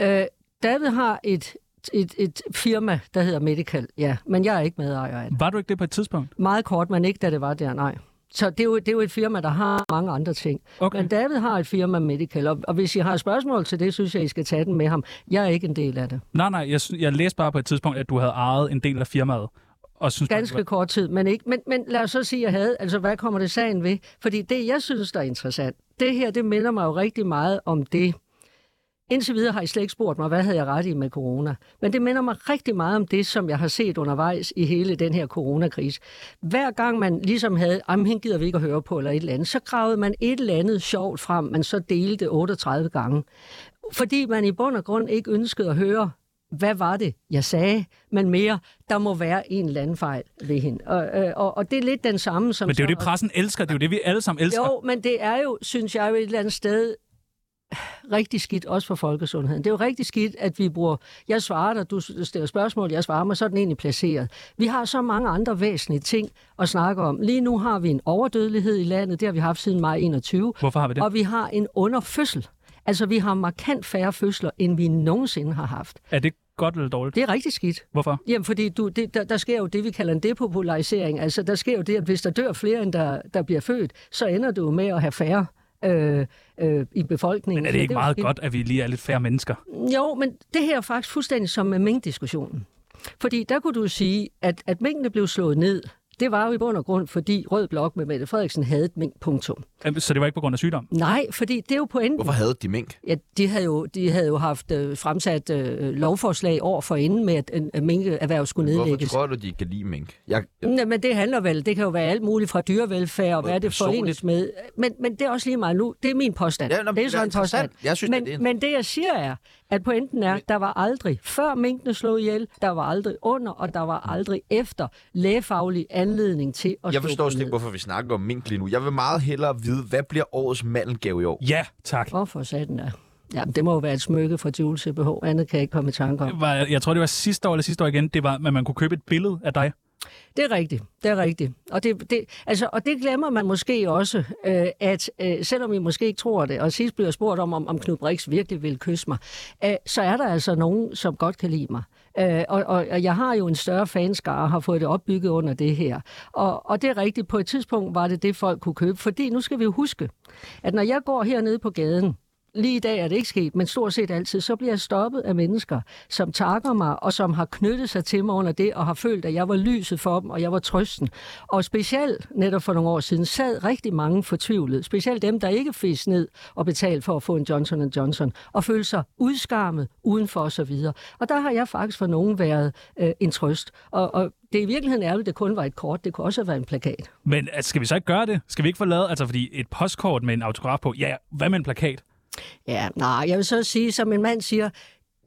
Speaker 3: Øh, David har et, et, et firma, der hedder Medical, ja. Men jeg er ikke medejer af det.
Speaker 4: Var du ikke det på et tidspunkt?
Speaker 3: Meget kort, men ikke da det var der, nej. Så det er, jo, det er jo et firma, der har mange andre ting.
Speaker 4: Okay.
Speaker 3: Men David har et firma Medical, og, og hvis I har spørgsmål til det, synes jeg, I skal tage den med ham. Jeg er ikke en del af det.
Speaker 4: Nej, nej, jeg, sy- jeg læste bare på et tidspunkt, at du havde ejet en del af firmaet. Og synes,
Speaker 3: Ganske kort tid, men ikke. Men, men lad os så sige, at jeg havde, altså hvad kommer det sagen ved? Fordi det, jeg synes, der er interessant, det her, det minder mig jo rigtig meget om det. Indtil videre har I slet ikke spurgt mig, hvad havde jeg ret i med corona. Men det minder mig rigtig meget om det, som jeg har set undervejs i hele den her coronakrise. Hver gang man ligesom havde, jamen hende gider vi ikke at høre på, eller et eller andet, så gravede man et eller andet sjovt frem, man så delte 38 gange. Fordi man i bund og grund ikke ønskede at høre, hvad var det, jeg sagde, men mere, der må være en eller anden fejl ved hende. Og, øh, og, og det er lidt den samme, som...
Speaker 4: Men det er jo
Speaker 3: så-
Speaker 4: det, pressen elsker. Det er jo det, vi alle sammen elsker.
Speaker 3: jo, men det er jo, synes jeg jo et eller andet sted, rigtig skidt, også for folkesundheden. Det er jo rigtig skidt, at vi bruger, jeg svarer dig, du stiller spørgsmål, jeg svarer mig, så er den egentlig placeret. Vi har så mange andre væsentlige ting at snakke om. Lige nu har vi en overdødelighed i landet, det har vi haft siden maj 21.
Speaker 4: Hvorfor har vi det?
Speaker 3: Og vi har en underfødsel. Altså, vi har markant færre fødsler, end vi nogensinde har haft.
Speaker 4: Er det godt eller dårligt?
Speaker 3: Det er rigtig skidt.
Speaker 4: Hvorfor?
Speaker 3: Jamen, fordi du, det, der, der sker jo det, vi kalder en depopularisering. Altså, der sker jo det, at hvis der dør flere, end der, der bliver født, så ender du jo med at have færre øh, øh, i befolkningen.
Speaker 4: Men er
Speaker 3: Så
Speaker 4: det ikke
Speaker 3: jo
Speaker 4: meget
Speaker 3: skidt.
Speaker 4: godt, at vi lige er lidt færre mennesker?
Speaker 3: Jo, men det her er faktisk fuldstændig som med minkdiskussionen. Fordi der kunne du sige, at, at minkene blev slået ned, Det var jo i bund og grund, fordi Rød Blok med Mette Frederiksen havde et mink punktum.
Speaker 4: Øhm, Så det var ikke på grund af sygdom?
Speaker 3: Nej, fordi det er jo pointen.
Speaker 1: Hvorfor havde de mink?
Speaker 3: Ja, de havde jo, de havde jo haft øh, fremsat øh, lovforslag år for inden med, at øh, minkerhverv skulle
Speaker 1: Hvorfor
Speaker 3: nedlægges.
Speaker 1: tror du, de kan lide mink? Jeg, jeg,
Speaker 3: Nej, men det handler vel, det kan jo være alt muligt fra dyrevelfærd og hvad er det
Speaker 1: personligt.
Speaker 3: forenes med. Men, men det er også lige meget nu, det er min påstand.
Speaker 1: Ja, nå, men
Speaker 3: det er
Speaker 1: det
Speaker 3: sådan
Speaker 1: er
Speaker 3: en påstand.
Speaker 1: interessant. Jeg synes,
Speaker 3: men,
Speaker 1: at det er en-
Speaker 3: men det jeg siger er, at pointen er, der var aldrig før minkene slog ihjel, der var aldrig under, og der var aldrig efter lægefaglig anledning til at
Speaker 1: jeg
Speaker 3: slå
Speaker 1: forstår
Speaker 3: dem
Speaker 1: slet ikke,
Speaker 3: ned.
Speaker 1: hvorfor vi snakker om mink lige nu. Jeg vil meget hellere vide, hvad bliver årets mandelgave i år?
Speaker 4: Ja, tak.
Speaker 3: Hvorfor sagde den der? Jamen, det må jo være et smykke fra Jules CBH. Andet kan jeg ikke komme i tanke om.
Speaker 4: Var, jeg tror, det var sidste år eller sidste år igen, det var, at man kunne købe et billede af dig.
Speaker 3: Det er rigtigt, det er rigtigt. Og det, det, altså, og det glemmer man måske også, øh, at øh, selvom I måske ikke tror det, og sidst blev jeg spurgt om, om, om Knud Brix virkelig vil kysse mig, øh, så er der altså nogen, som godt kan lide mig. Øh, og, og, og jeg har jo en større fanskare, har fået det opbygget under det her. Og, og det er rigtigt, på et tidspunkt var det det, folk kunne købe, fordi nu skal vi jo huske, at når jeg går hernede på gaden, Lige i dag er det ikke sket, men stort set altid, så bliver jeg stoppet af mennesker, som takker mig, og som har knyttet sig til mig under det, og har følt, at jeg var lyset for dem, og jeg var trøsten. Og specielt netop for nogle år siden sad rigtig mange fortvivlede, specielt dem, der ikke fik ned og betalte for at få en Johnson Johnson, og følte sig udskammet udenfor osv. Og, så videre. og der har jeg faktisk for nogen været øh, en trøst. Og, og det er i virkeligheden ærgerligt, at det kun var et kort, det kunne også have været en plakat.
Speaker 4: Men altså, skal vi så ikke gøre det? Skal vi ikke få lavet, altså fordi et postkort med en autograf på, ja, ja, hvad med en plakat?
Speaker 3: Ja, nej, jeg vil så sige, som en mand siger,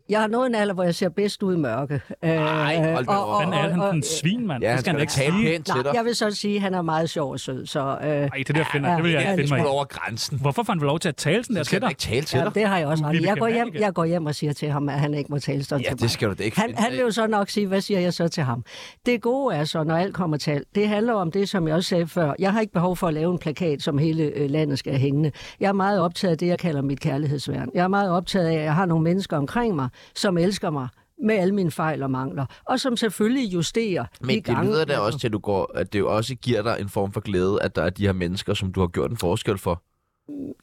Speaker 3: jeg har nået en alder, hvor jeg ser bedst ud i mørke. Øh,
Speaker 1: Ej, hold da op.
Speaker 4: Hvordan er han sådan en svin, mand?
Speaker 1: Ja,
Speaker 4: det
Speaker 1: han
Speaker 4: skal
Speaker 1: skal
Speaker 4: han
Speaker 1: da
Speaker 4: da ikke
Speaker 1: tale
Speaker 4: sige.
Speaker 1: pænt til
Speaker 3: Nej,
Speaker 1: dig.
Speaker 3: jeg vil så sige, at han er meget sjov og sød, så øh,
Speaker 4: Ej, det der finder, det vil jeg ikke
Speaker 3: ja,
Speaker 1: Det
Speaker 3: det
Speaker 4: finde
Speaker 1: skulle
Speaker 4: mig i.
Speaker 1: over grænsen.
Speaker 4: Hvorfor får han lov til at tale sådan der
Speaker 1: Jeg
Speaker 4: til
Speaker 1: skal da
Speaker 4: dig?
Speaker 1: ikke tale til
Speaker 3: ja,
Speaker 1: dig.
Speaker 3: det har jeg også ret i.
Speaker 4: Lille
Speaker 3: Jeg går, hjem,
Speaker 4: germaniker.
Speaker 3: jeg går hjem og siger til ham, at han ikke må tale sådan
Speaker 1: Ja,
Speaker 3: til
Speaker 1: det
Speaker 3: mig.
Speaker 1: skal du da ikke
Speaker 3: Han,
Speaker 1: finde
Speaker 3: han
Speaker 1: dig
Speaker 3: vil jo så nok sige, hvad siger jeg så til ham? Det gode er så, når alt kommer til alt, det handler om det, som jeg også sagde før. Jeg har ikke behov for at lave en plakat, som hele øh, landet skal have hængende. Jeg er meget optaget af det, jeg kalder mit kærlighedsværn. Jeg er meget optaget af, at jeg har nogle mennesker omkring mig, som elsker mig med alle mine fejl og mangler, og som selvfølgelig justerer de
Speaker 1: Men det
Speaker 3: gange-
Speaker 1: lyder da også til, at, du går, at det jo også giver dig en form for glæde, at der er de her mennesker, som du har gjort en forskel for.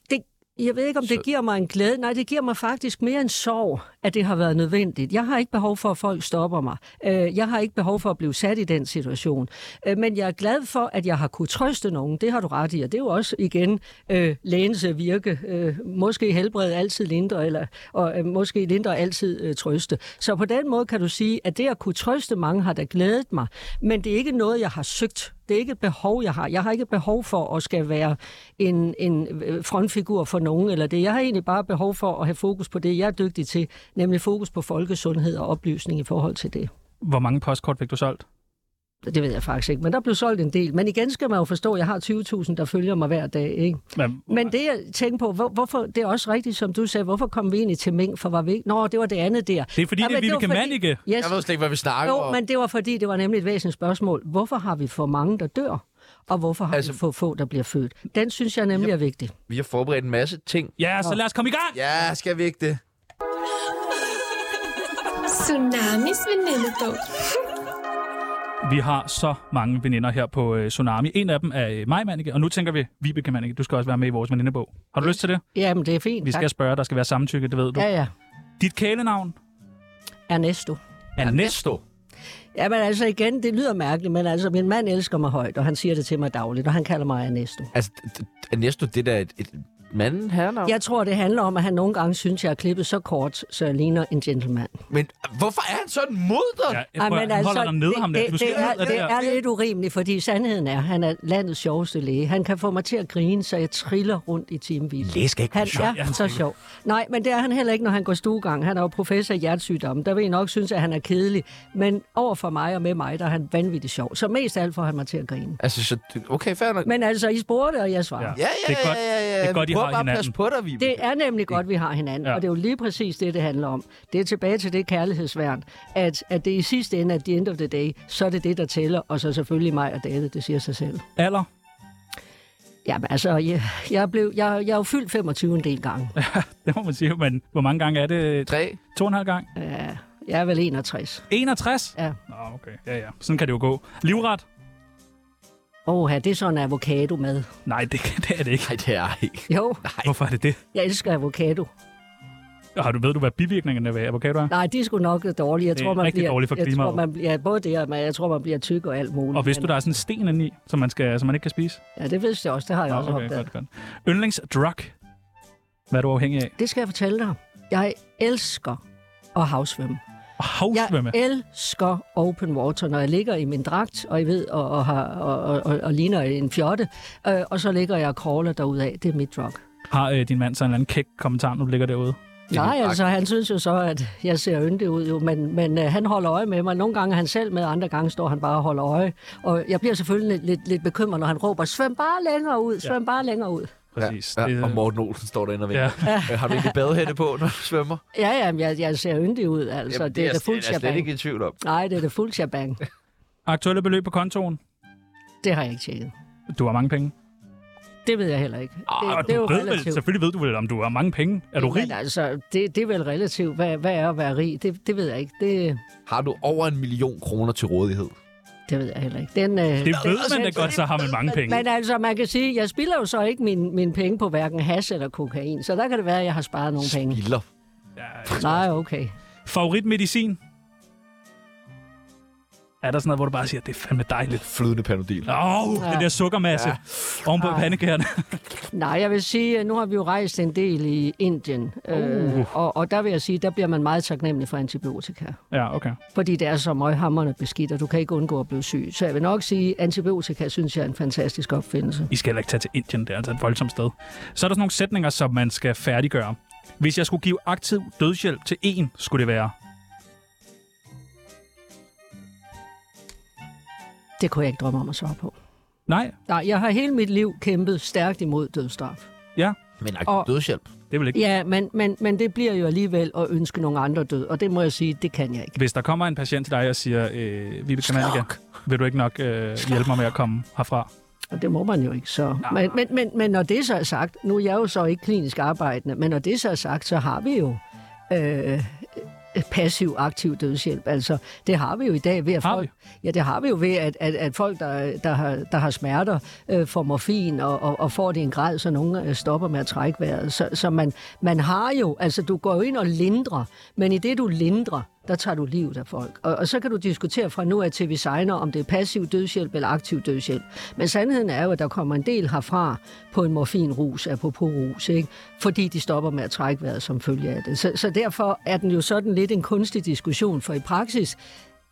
Speaker 3: det, jeg ved ikke, om så... det giver mig en glæde. Nej, det giver mig faktisk mere en sorg, at det har været nødvendigt. Jeg har ikke behov for, at folk stopper mig. Øh, Jeg har ikke behov for at blive sat i den situation. Øh, Men jeg er glad for, at jeg har kunne trøste nogen. Det har du ret i, og det er jo også igen øh, lægens øh, virke. Øh, Måske helbrede altid lindre, eller, og øh, måske lindre altid øh, trøste. Så på den måde kan du sige, at det at kunne trøste mange har da glædet mig, men det er ikke noget, jeg har søgt. Det er ikke et behov, jeg har. Jeg har ikke behov for at skal være en, en øh, frontfigur for nogen eller det. Jeg har egentlig bare behov for at have fokus på det, jeg er dygtig til, nemlig fokus på folkesundhed og oplysning i forhold til det.
Speaker 4: Hvor mange postkort fik du solgt?
Speaker 3: Det ved jeg faktisk ikke, men der blev solgt en del. Men igen skal man jo forstå, at jeg har 20.000, der følger mig hver dag. Ikke?
Speaker 4: Men,
Speaker 3: Men det jeg tænker på, hvor, hvorfor, det er også rigtigt, som du sagde, hvorfor kom vi egentlig til mink, for var vi ikke? Nå, det var det andet der.
Speaker 4: det er fordi, det er
Speaker 3: men var
Speaker 4: Vibeke
Speaker 3: fordi-
Speaker 4: Mannicke.
Speaker 3: Yes,
Speaker 1: Jeg ved slet ikke, hvad vi snakker
Speaker 3: jo,
Speaker 1: om.
Speaker 3: men det var fordi, det var nemlig et væsentligt spørgsmål. Hvorfor har vi for mange, der dør? Og hvorfor har altså,
Speaker 1: Altså-
Speaker 3: vi for få, der bliver født? Den synes jeg nemlig er vigtig.
Speaker 1: Vi har forberedt en masse ting.
Speaker 4: Ja, så lad os komme i gang!
Speaker 1: Ja, skal vi ikke det?
Speaker 7: Tsunamis venindebog.
Speaker 4: Vi har så mange veninder her på øh, Tsunami. En af dem er øh, mig, Mannicke, og nu tænker vi, Vibeke Mannicke, du skal også være med i vores venindebog. Har du lyst til det?
Speaker 3: Jamen, det er fint.
Speaker 4: Vi skal
Speaker 3: tak.
Speaker 4: spørge, der skal være samtykke, det ved du.
Speaker 3: Ja, ja.
Speaker 4: Dit kælenavn
Speaker 3: Ernesto.
Speaker 4: er Nesto.
Speaker 3: Jamen altså igen, det lyder mærkeligt, men altså min mand elsker mig højt, og han siger det til mig dagligt, og han kalder mig Ernesto.
Speaker 1: Altså, d- d- er næste det der et, et manden hernavn?
Speaker 3: Jeg tror, det handler om, at han nogle gange synes, jeg er klippet så kort, så jeg ligner en gentleman.
Speaker 1: Men ah, hvorfor er han sådan mod dig?
Speaker 4: Ja, jeg prøver,
Speaker 3: men
Speaker 4: altså, holder dig nede, ham der.
Speaker 3: det,
Speaker 4: Du
Speaker 3: det,
Speaker 4: skal
Speaker 3: det, er,
Speaker 4: ned af
Speaker 3: det
Speaker 4: der.
Speaker 3: er lidt urimeligt, fordi sandheden er, at han er landets sjoveste læge. Han kan få mig til at grine, så jeg triller rundt i timevis.
Speaker 1: Læge skal ikke
Speaker 3: Han
Speaker 1: være sjov.
Speaker 3: er så sjov. Nej, men det er han heller ikke, når han går stuegang. Han er jo professor i hjertesygdomme. Der vil I nok synes, at han er kedelig. Men over for mig og med mig, der er han vanvittigt sjov. Så mest af alt får han mig til at grine.
Speaker 1: Altså, så, okay, fair nok.
Speaker 3: Men altså, I spurgte, og jeg svarer.
Speaker 4: Ja.
Speaker 1: Ja,
Speaker 3: Ja.
Speaker 1: ja,
Speaker 4: Det er godt-
Speaker 1: ja, ja, ja.
Speaker 4: det er godt,
Speaker 1: vi
Speaker 4: I
Speaker 1: prøver
Speaker 4: har
Speaker 1: bare at
Speaker 4: hinanden.
Speaker 1: passe på dig, vi.
Speaker 3: Det er nemlig godt, vi har hinanden,
Speaker 4: Ja.
Speaker 3: ja. og det er jo lige præcis det, det handler om. Det er tilbage til det kærlighedsværn, at, at det i sidste ende, at the end of the day, så er det det, der tæller, og så selvfølgelig mig og David, det siger sig selv.
Speaker 4: Alder? (laughs)
Speaker 3: Jamen altså, jeg, jeg, blev, jeg, jeg er jo fyldt 25 en del gange.
Speaker 4: Det må man sige, men hvor mange gange er det?
Speaker 1: Tre.
Speaker 4: To og en halv gang?
Speaker 3: Ja, jeg er vel 61.
Speaker 4: 61?
Speaker 3: Ja.
Speaker 4: Nå, okay. Ja, ja. Sådan kan det jo gå. Livret?
Speaker 3: Åh, det er sådan en avocado med.
Speaker 4: Nej, (laughs) det, det er det ikke.
Speaker 1: Nej, det er jeg ikke.
Speaker 3: Jo,
Speaker 4: Hvorfor er det det?
Speaker 3: jeg elsker avocado.
Speaker 4: Har du, ved du, hvad bivirkningerne ved avocado er?
Speaker 3: Nej, de er sgu nok dårlige. Jeg
Speaker 4: Det
Speaker 3: tror,
Speaker 4: er
Speaker 3: man
Speaker 4: rigtig
Speaker 3: bliver,
Speaker 4: dårligt for
Speaker 3: jeg tror,
Speaker 4: klimaet.
Speaker 3: man bliver, ja, både det, og man, jeg tror, man bliver tyk og alt muligt.
Speaker 4: Og vidste du,
Speaker 3: men-
Speaker 4: der er sådan en sten inde i, som man, skal, som man ikke kan spise?
Speaker 3: Ja, det vidste jeg også. Det har jeg
Speaker 4: Nå,
Speaker 3: også
Speaker 4: okay,
Speaker 3: opdaget.
Speaker 4: godt, godt. Yndlingsdrug. Hvad er du afhængig af?
Speaker 3: Det skal jeg fortælle dig. Jeg elsker at havsvømme.
Speaker 4: Og
Speaker 3: Jeg
Speaker 4: havsvømme.
Speaker 3: elsker open water, når jeg ligger i min dragt, og I ved, og, og, har, og, og, og, og ligner en fjotte, øh, og så ligger jeg og crawler derudad. Det er mit drug.
Speaker 4: Har øh, din mand så en eller anden kæk kommentar, når du ligger derude?
Speaker 3: Nej, altså, han synes jo så, at jeg ser yndig ud, jo, men, men øh, han holder øje med mig. Nogle gange er han selv med, andre gange står han bare og holder øje. Og jeg bliver selvfølgelig lidt, lidt, lidt bekymret, når han råber, svøm bare længere ud, svøm ja. bare længere ud.
Speaker 4: Præcis.
Speaker 1: Ja,
Speaker 4: Det,
Speaker 1: ja,
Speaker 4: øh,
Speaker 1: og Morten Olsen står derinde og
Speaker 4: ja.
Speaker 1: venter. Ja. Har du egentlig badehætte på, når du svømmer?
Speaker 3: Ja, ja, men jeg, jeg ser yndig ud, altså. Jamen, det, det er
Speaker 1: jeg-
Speaker 3: det fuld
Speaker 1: jeg slet
Speaker 3: shabang.
Speaker 1: ikke i tvivl om.
Speaker 3: Nej, det er det fuld shabang.
Speaker 4: Aktuelle beløb på kontoen.
Speaker 3: Det har jeg ikke tjekket.
Speaker 4: Du har mange penge.
Speaker 3: Det ved jeg heller ikke.
Speaker 4: Arh,
Speaker 3: det, det er jo
Speaker 4: du ved vel,
Speaker 3: relativt.
Speaker 4: selvfølgelig ved du vel, om du har mange penge. Er du rig?
Speaker 3: Men altså, det, det er vel relativt. Hvad, hvad er at være rig? Det, det ved jeg ikke. Det,
Speaker 1: Har du over en million kroner til rådighed?
Speaker 3: det ved jeg heller ikke. Den, øh,
Speaker 4: Det ved man da godt, så har man mange penge.
Speaker 3: Men altså, man kan sige, jeg spilder jo så ikke mine min penge på hverken hash eller kokain, så der kan det være, at jeg har sparet nogle penge.
Speaker 1: Spilder.
Speaker 3: Nej, okay.
Speaker 4: Favoritmedicin? Er der sådan noget, hvor du bare siger, det er fandme dejligt?
Speaker 1: Flydende panodil.
Speaker 4: Åh, oh, ja. den der sukkermasse ja. oven på
Speaker 3: (laughs)
Speaker 4: pandekærne.
Speaker 3: Nej, jeg vil sige, at nu har vi jo rejst en del i Indien,
Speaker 4: Uh.
Speaker 3: øh, og, og der vil jeg sige, der bliver man meget taknemmelig for antibiotika.
Speaker 4: ja, okay.
Speaker 3: Fordi det er så møghamrende beskidt, og du kan ikke undgå at blive syg. Så jeg vil nok sige, at antibiotika synes jeg er en fantastisk opfindelse.
Speaker 4: I skal heller ikke tage til Indien, det er altså et voldsomt sted. Så er der sådan nogle sætninger, som man skal færdiggøre. Hvis jeg skulle give aktiv dødshjælp til en, skulle det være...
Speaker 3: Det kunne jeg ikke drømme om at svare på.
Speaker 4: Nej,
Speaker 3: Nej, jeg har hele mit liv kæmpet stærkt imod dødsstraf.
Speaker 4: ja,
Speaker 1: Men aktiv
Speaker 3: Og-
Speaker 1: dødshjælp.
Speaker 4: det er vel ikke.
Speaker 3: Ja, men, men, men det bliver jo alligevel at ønske nogle andre død, og det må jeg sige, det kan jeg ikke.
Speaker 4: Hvis der kommer en patient til dig og siger, øh, Vibe Kamanika, vil du ikke nok øh, hjælpe mig med at komme herfra?
Speaker 3: Og det må man jo ikke så. Men, men, men, men når det så er sagt, nu er jeg jo så ikke klinisk arbejdende, men når det så er sagt, så har vi jo øh, passiv-aktiv dødshjælp. Altså, det har vi jo i dag ved at
Speaker 4: Har
Speaker 3: folk... Ja, det har vi jo ved, at, at, at folk, der, der, har, der har smerter, øh, får morfin og, og, og får det i en grad, så nogen øh, stopper med at trække vejret. Så, så man, man har jo... Altså, du går jo ind og lindrer, men i det, du lindrer, der tager du livet af folk. Og, og så kan du diskutere fra nu af til vi signer, om det er passiv dødshjælp eller aktiv dødshjælp. Men sandheden er jo, at der kommer en del herfra på en morfinrus, apropos rus, ikke? fordi de stopper med at trække vejret som følge af det. Så, så derfor er den jo sådan lidt en kunstig diskussion, for i praksis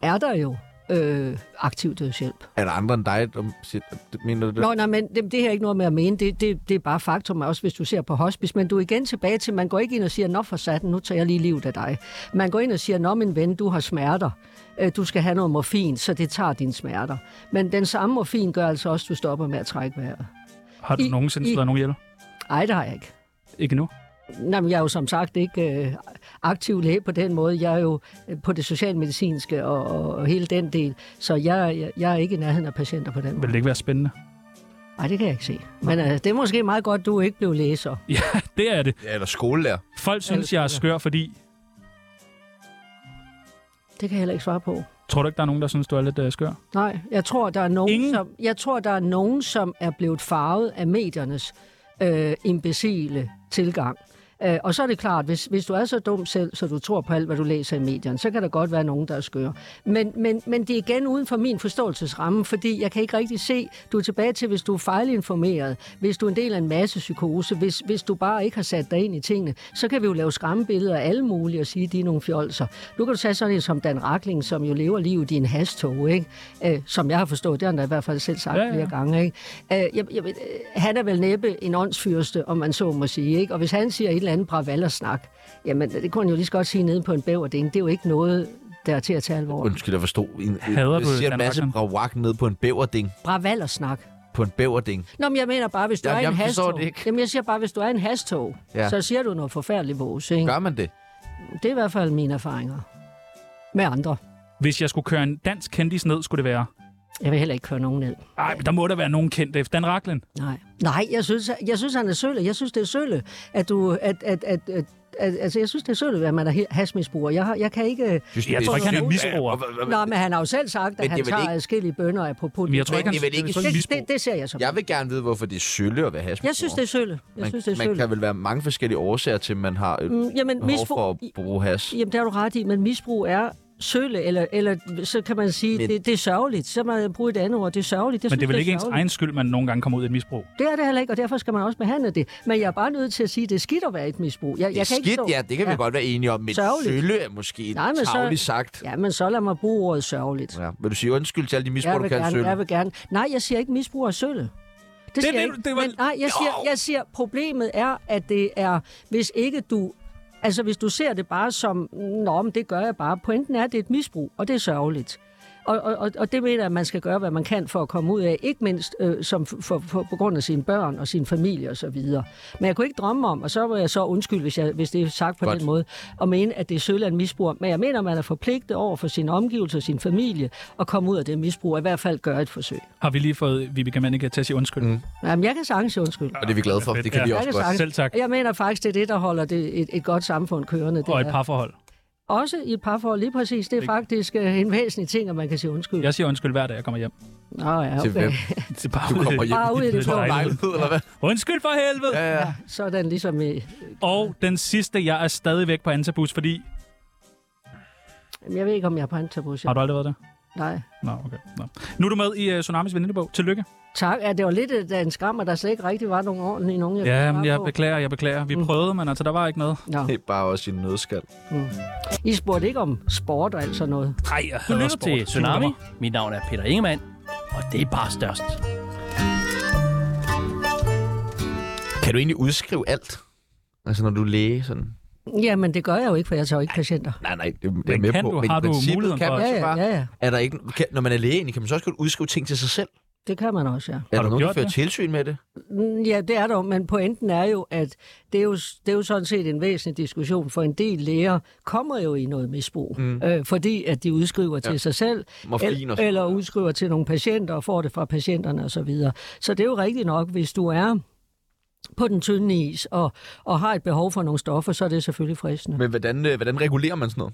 Speaker 3: er der jo øh, aktiv dødshjælp.
Speaker 1: Er der andre end dig, der siger, mener du det?
Speaker 3: Nå, nej, men det, det her er ikke noget med at mene. Det, det, det er bare faktum, også hvis du ser på hospice. Men du er igen tilbage til, man går ikke ind og siger, nå for satan, nu tager jeg lige livet af dig. Man går ind og siger, nå min ven, du har smerter. Øh, Du skal have noget morfin, så det tager dine smerter. Men den samme morfin gør altså også, at du stopper med at trække vejret.
Speaker 4: Har du I,
Speaker 3: I-
Speaker 4: nogensinde
Speaker 3: I-
Speaker 4: slået nogen ihjel?
Speaker 3: Ej, det har jeg ikke.
Speaker 4: Ikke nu.
Speaker 3: Nej, men jeg er jo som sagt ikke øh, aktiv læge på den måde. Jeg er jo øh, på det socialmedicinske og, og, og hele den del. Så jeg, jeg, jeg er ikke i nærheden af patienter på den
Speaker 4: Vil
Speaker 3: måde.
Speaker 4: det ikke være spændende? (laughs)
Speaker 3: Nej, det kan jeg ikke se. Men øh, det er måske meget godt, du ikke blev læge så.
Speaker 4: Ja, det er det.
Speaker 1: Ja, eller skolelærer.
Speaker 4: Folk synes, jeg er skør, fordi...
Speaker 3: Det kan jeg heller ikke svare på.
Speaker 4: Tror du ikke, der er nogen, der synes, du er lidt øh, skør?
Speaker 3: Nej, jeg tror, der er nogen,
Speaker 4: Ingen?
Speaker 3: Som, jeg tror, der er nogen, som er blevet farvet af mediernes øh, imbecile tilgang. Øh, og så er det klart, hvis, hvis du er så dum selv, så du tror på alt, hvad du læser i medierne, så kan der godt være nogen, der er skøre. Men, men, men det er igen uden for min forståelsesramme, fordi jeg kan ikke rigtig se, du er tilbage til, hvis du er fejlinformeret, hvis du er en del af en masse psykose, hvis, hvis du bare ikke har sat dig ind i tingene, så kan vi jo lave skræmmebilleder af alle mulige og sige, at de er nogle fjolser. Nu kan du tage sådan en som Dan Rakling, som jo lever livet i en hastog, ikke? Øh, som jeg har forstået, det har han da i hvert fald selv sagt
Speaker 4: Ja,
Speaker 3: ja,
Speaker 4: ja.
Speaker 3: ja. flere gange. Ikke? Øh, jeg, jeg, ved- øh, han er vel næppe en åndsfyrste, om man så må sige. Ikke? Og hvis han siger et eller andet bravallersnak, jamen det kunne han jo lige så godt sige nede på en bæverding. Det er jo ikke noget, der er til at tage alvorligt.
Speaker 1: Undskyld, jeg forstod. En,
Speaker 4: Hader
Speaker 1: jeg
Speaker 4: du
Speaker 1: siger
Speaker 4: Dan
Speaker 1: en masse
Speaker 4: Rachlin?
Speaker 1: bravak ned på en bæverding.
Speaker 3: Bravallersnak.
Speaker 1: På en bæverding.
Speaker 3: Nå, men jeg mener bare, hvis du
Speaker 1: Jamen,
Speaker 3: er i en
Speaker 1: jeg forstår
Speaker 3: hastog...
Speaker 1: det ikke.
Speaker 3: Jamen, jeg siger bare, hvis du er i en hastog,
Speaker 1: Ja.
Speaker 3: ja. så siger du noget forfærdeligt vores, ikke?
Speaker 1: Gør man det?
Speaker 3: Det er i hvert fald mine erfaringer med andre.
Speaker 4: Hvis jeg skulle køre en dansk kendis ned, skulle det være...
Speaker 3: Jeg vil heller ikke køre nogen ned.
Speaker 4: Ej, men der må der være nogen kendte. Dan Raklen.
Speaker 3: Nej, Nej jeg, synes, jeg synes, han er sølle. Jeg synes, det er sølle, at, du, at, at, at, at al- altså, jeg synes, det er sødt, at man er he- hashmisbruger. Jeg, har, jeg kan ikke... øh,
Speaker 1: Synes, du,
Speaker 4: Jeg
Speaker 1: det
Speaker 4: tror ikke, han er
Speaker 1: sygt?
Speaker 4: misbruger.
Speaker 1: Ja, og hvad- hvad-
Speaker 3: Nå, men han har jo selv sagt,
Speaker 1: Men
Speaker 3: at
Speaker 1: det
Speaker 3: han
Speaker 1: er vel
Speaker 3: tager
Speaker 1: ikke-
Speaker 3: adskillige bønder af apropos.
Speaker 4: Men jeg tror ikke, han-
Speaker 1: Det er vel ikke
Speaker 4: jeg tror
Speaker 1: sygt?
Speaker 3: det,
Speaker 4: misbrug.
Speaker 3: det, det, ser jeg som.
Speaker 1: Jeg vil gerne vide, hvorfor det er sølle at være hashmisbruger.
Speaker 3: Jeg synes, det er sølle. Jeg synes, det er
Speaker 1: man, man
Speaker 3: sølle.
Speaker 1: kan vel være mange forskellige årsager til, at man har et
Speaker 3: Mm, jamen,
Speaker 1: behov for at
Speaker 3: misbrug-
Speaker 1: bruge hash.
Speaker 3: Jamen, der er du ret i, men misbrug er sølle, eller, eller så kan man sige,
Speaker 1: Men-
Speaker 3: men... det, det er sørgeligt. Så må jeg bruge et andet ord, det er sørgeligt. Jeg
Speaker 4: Men det er
Speaker 3: synes,
Speaker 4: vel ikke
Speaker 3: det er
Speaker 4: ens
Speaker 3: sørgeligt.
Speaker 4: egen skyld, man nogle gange kommer ud i et misbrug.
Speaker 3: Det er det heller ikke, og derfor skal man også behandle det. Men jeg er bare nødt til at sige, at det er skidt at være i et misbrug. Jeg,
Speaker 1: Det er
Speaker 3: jeg kan
Speaker 1: skidt,
Speaker 3: ikke stå...
Speaker 1: ja, det kan vi godt være enige om, men
Speaker 3: Sørgeligt.
Speaker 1: sølle er måske et
Speaker 3: Nej, men så-
Speaker 1: tavligt sagt.
Speaker 3: Ja, men så lad mig bruge ordet sørgeligt.
Speaker 1: Ja. Vil du sige undskyld til alle de misbrug,
Speaker 3: jeg
Speaker 1: du
Speaker 3: vil
Speaker 1: kan
Speaker 3: gerne,
Speaker 1: sølle?
Speaker 3: jeg vil gerne. Nej, jeg siger ikke misbrug af sølle. Det, siger
Speaker 4: det,
Speaker 3: jeg ikke.
Speaker 4: det var-
Speaker 3: Men, nej, jeg siger, jeg siger, problemet er, at det er, hvis ikke du... Altså, hvis du ser det bare som, nå, men det gør jeg bare. Pointen er, at det er et misbrug, og det er sørgeligt. Og, og, og- og det mener jeg, at man skal gøre, hvad man kan for at komme ud af, ikke mindst øh, som for, for, for, på grund af sine børn og sin familie og så videre. Men jeg kunne ikke drømme om, og så var jeg så undskyld, hvis, jeg, hvis det er sagt på
Speaker 1: Godt.
Speaker 3: Godt. den måde, at mene, at det er søland misbrug. Men jeg mener, at man er forpligtet over for sin omgivelser og sin familie at komme ud af det misbrug, og i hvert fald gøre et forsøg.
Speaker 4: Har vi lige fået Vibeke Mannicke til at sige undskyld? Mm.
Speaker 3: Jamen, jeg kan sagtens sige undskyld.
Speaker 1: Og det er vi glade for, det kan
Speaker 4: Ja.
Speaker 1: vi
Speaker 3: Jeg
Speaker 1: også
Speaker 3: kan
Speaker 1: godt.
Speaker 3: sagtens.
Speaker 4: Selv tak.
Speaker 3: Og Jeg mener faktisk, det er det, der holder det, et, et godt samfund kørende. Det
Speaker 4: Og et
Speaker 3: er-
Speaker 4: parforhold.
Speaker 3: Også i et parforhold, lige præcis. Det er faktisk øh, en væsentlig ting, at man kan sige undskyld.
Speaker 4: Jeg siger undskyld hver dag, jeg kommer hjem.
Speaker 3: Nå ja,
Speaker 1: Til hvem?
Speaker 3: okay.
Speaker 4: Det er bare
Speaker 1: Du
Speaker 4: ud i-
Speaker 1: kommer hjem
Speaker 3: Bare ud i det blå.
Speaker 1: på lejlighed, eller hvad?
Speaker 4: Undskyld for helvede!
Speaker 1: Ja, ja.
Speaker 3: Sådan ligesom i...
Speaker 4: Og den sidste, jeg er stadigvæk på Antabus, fordi...
Speaker 3: Jamen, Jeg ved ikke, om jeg er på antabus.
Speaker 4: Har du aldrig været der?
Speaker 3: Nej.
Speaker 4: Nå, okay. Nå. Nu er du med i uh, Tsunamis venindebog. Tillykke.
Speaker 3: Tak. Ja, det var lidt et- af en skam, at der slet ikke rigtig var nogen ordentlige nogen, jeg kunne
Speaker 4: Ja,
Speaker 3: svare
Speaker 4: jeg
Speaker 3: på.
Speaker 4: beklager, jeg beklager.
Speaker 3: Mm.
Speaker 4: Vi prøvede, men altså, der var ikke noget.
Speaker 3: Nå.
Speaker 1: Det er bare også en nødskal.
Speaker 3: I spurgte ikke om sport og alt sådan noget.
Speaker 8: Hej, jeg du lytter til Tsunami. Mit navn er Peter Ingemann, og det er bare størst.
Speaker 1: Kan du egentlig udskrive alt? Altså, når du er læge, sådan...
Speaker 3: Jamen, det gør jeg jo ikke, for jeg tager jo ikke patienter.
Speaker 1: Nej, nej, det, det er
Speaker 4: Men
Speaker 1: med
Speaker 4: kan
Speaker 1: på.
Speaker 4: du? Har
Speaker 1: i
Speaker 4: du
Speaker 1: princippet
Speaker 4: muligheden
Speaker 1: kan
Speaker 4: for
Speaker 1: man
Speaker 3: Ja,
Speaker 1: så
Speaker 3: ja,
Speaker 1: bare-
Speaker 3: ja, ja.
Speaker 1: Er der ikke, kan, når man er læge, egentlig, kan man så også godt udskrive ting til sig selv?
Speaker 3: Det kan man også, ja.
Speaker 1: Er
Speaker 4: Har
Speaker 1: der
Speaker 4: du
Speaker 1: nogen, der
Speaker 4: gjort
Speaker 1: fører
Speaker 4: det?
Speaker 1: tilsyn med det?
Speaker 3: Mm, Ja, det er der, jo, men pointen er jo, at det er jo, det er jo sådan set en væsentlig diskussion, for en del læger kommer jo i noget misbrug, mm. øh, fordi at de udskriver ja. til sig selv,
Speaker 1: Morfin og sådan
Speaker 3: eller udskriver til nogle patienter og får det fra patienterne osv. Så, videre. så det er jo rigtigt nok, hvis du er på den tynde is og, og har et behov for nogle stoffer, så er det selvfølgelig fristende.
Speaker 1: Men hvordan, øh, hvordan regulerer man sådan noget?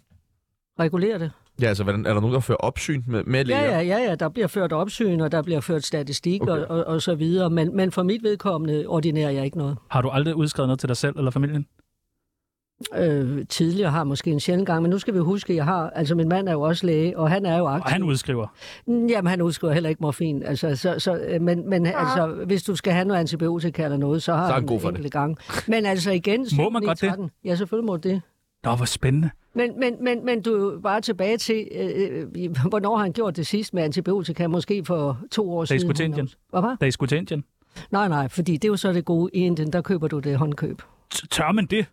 Speaker 3: Reguler det.
Speaker 1: Ja, altså, hvordan, er der nogen, der fører opsyn med, med læger?
Speaker 3: Ja, ja, ja, ja, der bliver ført opsyn, og der bliver ført statistik okay. og, og, og så videre, men, men for mit vedkommende ordinerer jeg ikke noget.
Speaker 4: Har du aldrig udskrevet noget til dig selv eller familien?
Speaker 3: øh, tidligere har måske en sjældent gang, men nu skal vi huske, at jeg har, altså min mand er jo også læge, og han er jo
Speaker 4: Og
Speaker 3: aktiv.
Speaker 4: han udskriver.
Speaker 3: Han... Jamen, han udskriver heller ikke morfin, altså, så, så, øh, men, men altså, hvis du skal have noget antibiotika eller noget, så har
Speaker 1: er han
Speaker 3: han
Speaker 1: god for
Speaker 3: en enkelt gang. Men altså igen...
Speaker 4: (laughs) Må man godt det?
Speaker 3: 13. Ja, selvfølgelig må det.
Speaker 4: Nå, hvor spændende.
Speaker 3: Men, men, men, men du er jo bare tilbage til, øh, øh, hvornår har han gjort det sidst med antibiotika, måske for to år
Speaker 4: Da I
Speaker 3: siden.
Speaker 4: skulle til Indien.
Speaker 3: Hvad var?
Speaker 4: Da I skulle til Indien.
Speaker 3: Nej, nej, fordi det er jo så det gode i Indien, der køber du det håndkøb.
Speaker 4: T- Tør man det?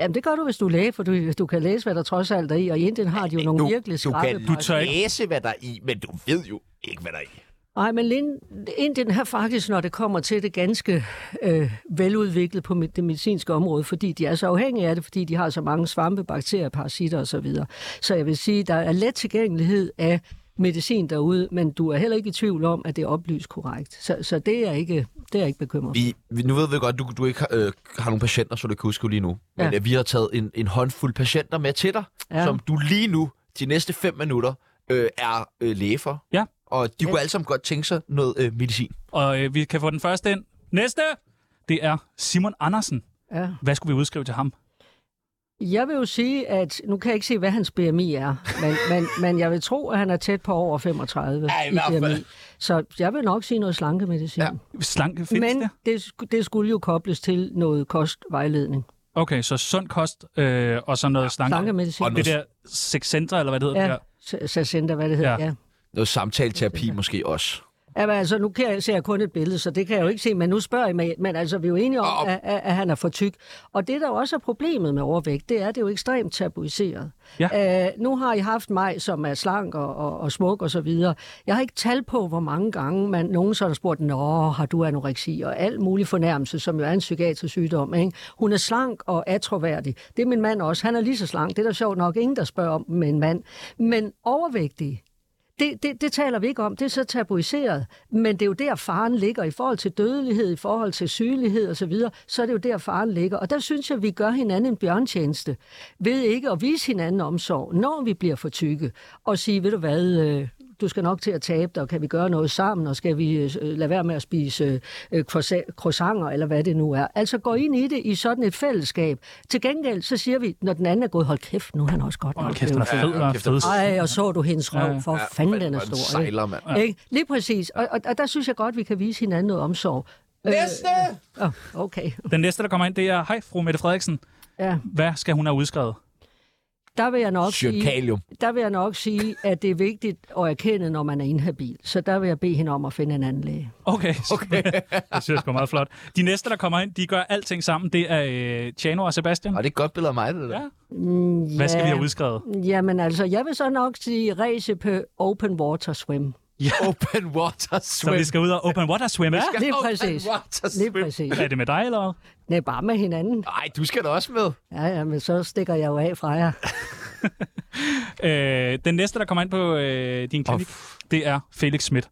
Speaker 3: Jamen, det gør du, hvis du er læge, for du, du kan læse, hvad der trods alt er i, og i Indien har de jo nogle virkelig
Speaker 1: du
Speaker 3: skrappe
Speaker 1: kan
Speaker 4: Du tør ikke.
Speaker 1: læse, hvad der er i, men du ved jo ikke, hvad der er i.
Speaker 3: Nej, men Lind- Indien har faktisk, når det kommer til det, ganske øh, veludviklet på med- det medicinske område, fordi de er så afhængige af det, fordi de har så mange svampe, bakterier, parasitter osv. Så, videre. så jeg vil sige, der er let tilgængelighed af medicin derude, men du er heller ikke i tvivl om, at det er oplyst korrekt. Så, så det, er jeg ikke, det er jeg ikke bekymret for.
Speaker 1: Vi, vi, nu ved vi godt, du, du ikke har, øh, har nogen patienter, så du kan huske lige nu. Men
Speaker 3: Ja.
Speaker 1: ja. vi har taget en, en håndfuld patienter med til dig, ja.
Speaker 3: Ja.
Speaker 1: som du lige nu, de næste fem minutter, øh, er øh, læge for.
Speaker 4: Ja.
Speaker 1: Og de kunne alle sammen godt tænke sig noget øh, medicin.
Speaker 4: Og øh, vi kan få den første ind. Næste! Det er Simon Andersen.
Speaker 3: Ja.
Speaker 4: Hvad skulle vi udskrive til ham?
Speaker 3: Jeg vil jo sige, at nu kan jeg ikke se, hvad hans BMI er, men, (laughs) men, men jeg vil tro, at han er tæt på over 35
Speaker 1: Ja, i
Speaker 3: i
Speaker 1: hvert fald.
Speaker 3: BMI. Så jeg vil nok sige noget slankemedicin.
Speaker 1: Ja.
Speaker 3: Ja.
Speaker 4: Slanke findes
Speaker 3: Men
Speaker 4: det?
Speaker 3: det, sk- det skulle jo kobles til noget kostvejledning.
Speaker 4: Okay, så sund kost øh, og så noget slanke.
Speaker 3: Slankemedicin.
Speaker 1: Og nu-
Speaker 4: Det der sexcenter, eller hvad det hedder. Ja.
Speaker 3: Ja, s- Sacentra, hvad det hedder,
Speaker 4: Ja.
Speaker 3: ja. ja.
Speaker 1: Noget samtaleterapi måske også.
Speaker 3: Jamen, altså, nu kan jeg, ser jeg kun et billede, så det kan jeg jo ikke se, men nu spørger I mig, men altså, vi er jo enige om, at, at, at han er for tyk. Og det, der jo også er problemet med overvægt, det er, at det er jo ekstremt tabuiseret. Ja. Øh, nu har I haft mig, som er slank og, og, og smuk og så videre. Jeg har ikke tal på, hvor mange gange man, nogen så har spurgt, nå, har du anoreksi og alt mulig fornærmelse, som jo er en psykiatrisk sygdom. Ikke? Hun er slank og atroværdig. Det er min mand også. Han er lige så slank. Det er der sjovt nok ingen, der spørger om med en mand. Men overvægtige, det, det, det taler vi ikke om, det er så tabuiseret, men det er jo der, faren ligger i forhold til dødelighed, i forhold til sygelighed osv., så, videre, så er det jo der, faren ligger. Og der synes jeg, vi gør hinanden en bjørntjeneste ved ikke at vise hinanden omsorg, når vi bliver for tykke, og sige, ved du hvad, øh, du skal nok til at tabe dig, og kan vi gøre noget sammen, og skal vi øh, lade være med at spise øh, croissa- croissanter, eller hvad det nu er. Altså gå ind i det i sådan et fællesskab. Til gengæld, så siger vi, når den anden er gået, hold kæft, nu er han også godt
Speaker 4: Åh,
Speaker 3: nok
Speaker 4: kæft, den er
Speaker 3: blevet
Speaker 4: fed,
Speaker 1: Ja,
Speaker 4: ja,
Speaker 1: kæft,
Speaker 4: fed.
Speaker 3: ej, og så du hendes røv,
Speaker 4: Ja.
Speaker 3: for
Speaker 1: Ja,
Speaker 3: fanden,
Speaker 1: men
Speaker 3: den er
Speaker 1: hvor den
Speaker 3: stor. ikke?
Speaker 1: sejler, mand.
Speaker 3: Ja. Ikke? Lige præcis, og, og, og der synes jeg godt, vi kan vise hinanden noget omsorg. Næste! Øh, oh, okay,
Speaker 4: Den næste, der kommer ind, det er, hej, fru Mette Frederiksen.
Speaker 3: ja.
Speaker 4: Hvad skal hun have udskrevet?
Speaker 3: Der vil jeg nok sige, Mm.
Speaker 1: Cirkalium.
Speaker 3: der vil jeg nok sige, at det er vigtigt at erkende, når man er inhabil. Så der vil jeg bede hende om at finde en anden læge.
Speaker 4: Okay. (laughs) okay. det synes jeg sgu er meget flot. De næste, der kommer ind, de gør alting sammen. Det er øh, Tjano og Sebastian.
Speaker 1: Og det er et godt billede af mig, det der.
Speaker 4: Ja.
Speaker 1: Ja.
Speaker 3: Mm,
Speaker 4: Hvad skal vi
Speaker 3: ja.
Speaker 4: have udskrevet?
Speaker 3: Jamen altså, jeg vil så nok sige race på open water swim.
Speaker 1: (laughs) Open water
Speaker 4: Så
Speaker 1: swim.
Speaker 4: vi skal ud og open water swim. Ja.
Speaker 3: Lige
Speaker 1: Open
Speaker 3: præcis.
Speaker 1: water
Speaker 3: Lige
Speaker 1: swim.
Speaker 3: præcis.
Speaker 4: Er det med dig, eller hvad?
Speaker 3: Nej, bare med hinanden.
Speaker 1: Nej, du skal da også med.
Speaker 3: Ja, ja, men så stikker jeg jo af fra jer.
Speaker 4: Øh, den næste, der kommer ind på øh, din klinik, det er Felix Schmidt.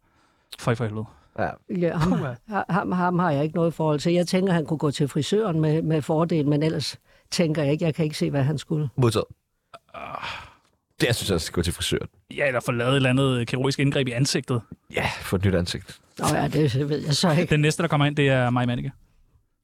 Speaker 4: For i for helvede.
Speaker 1: Ja.
Speaker 3: Ja, ham, (laughs) ham, ham har jeg ikke noget forhold til. Jeg tænker, han kunne gå til frisøren med, med fordel, men ellers tænker jeg ikke. Jeg kan ikke se, hvad han skulle.
Speaker 1: Modtaget. Det, jeg synes, jeg skal gå til frisøren.
Speaker 4: Ja, eller få lavet et eller andet kirurgisk indgreb i ansigtet.
Speaker 1: Ja, få et nyt ansigt.
Speaker 3: Nå ja, det ved jeg så ikke.
Speaker 4: Den næste, der kommer ind, det er Maja Manneke.
Speaker 3: (laughs)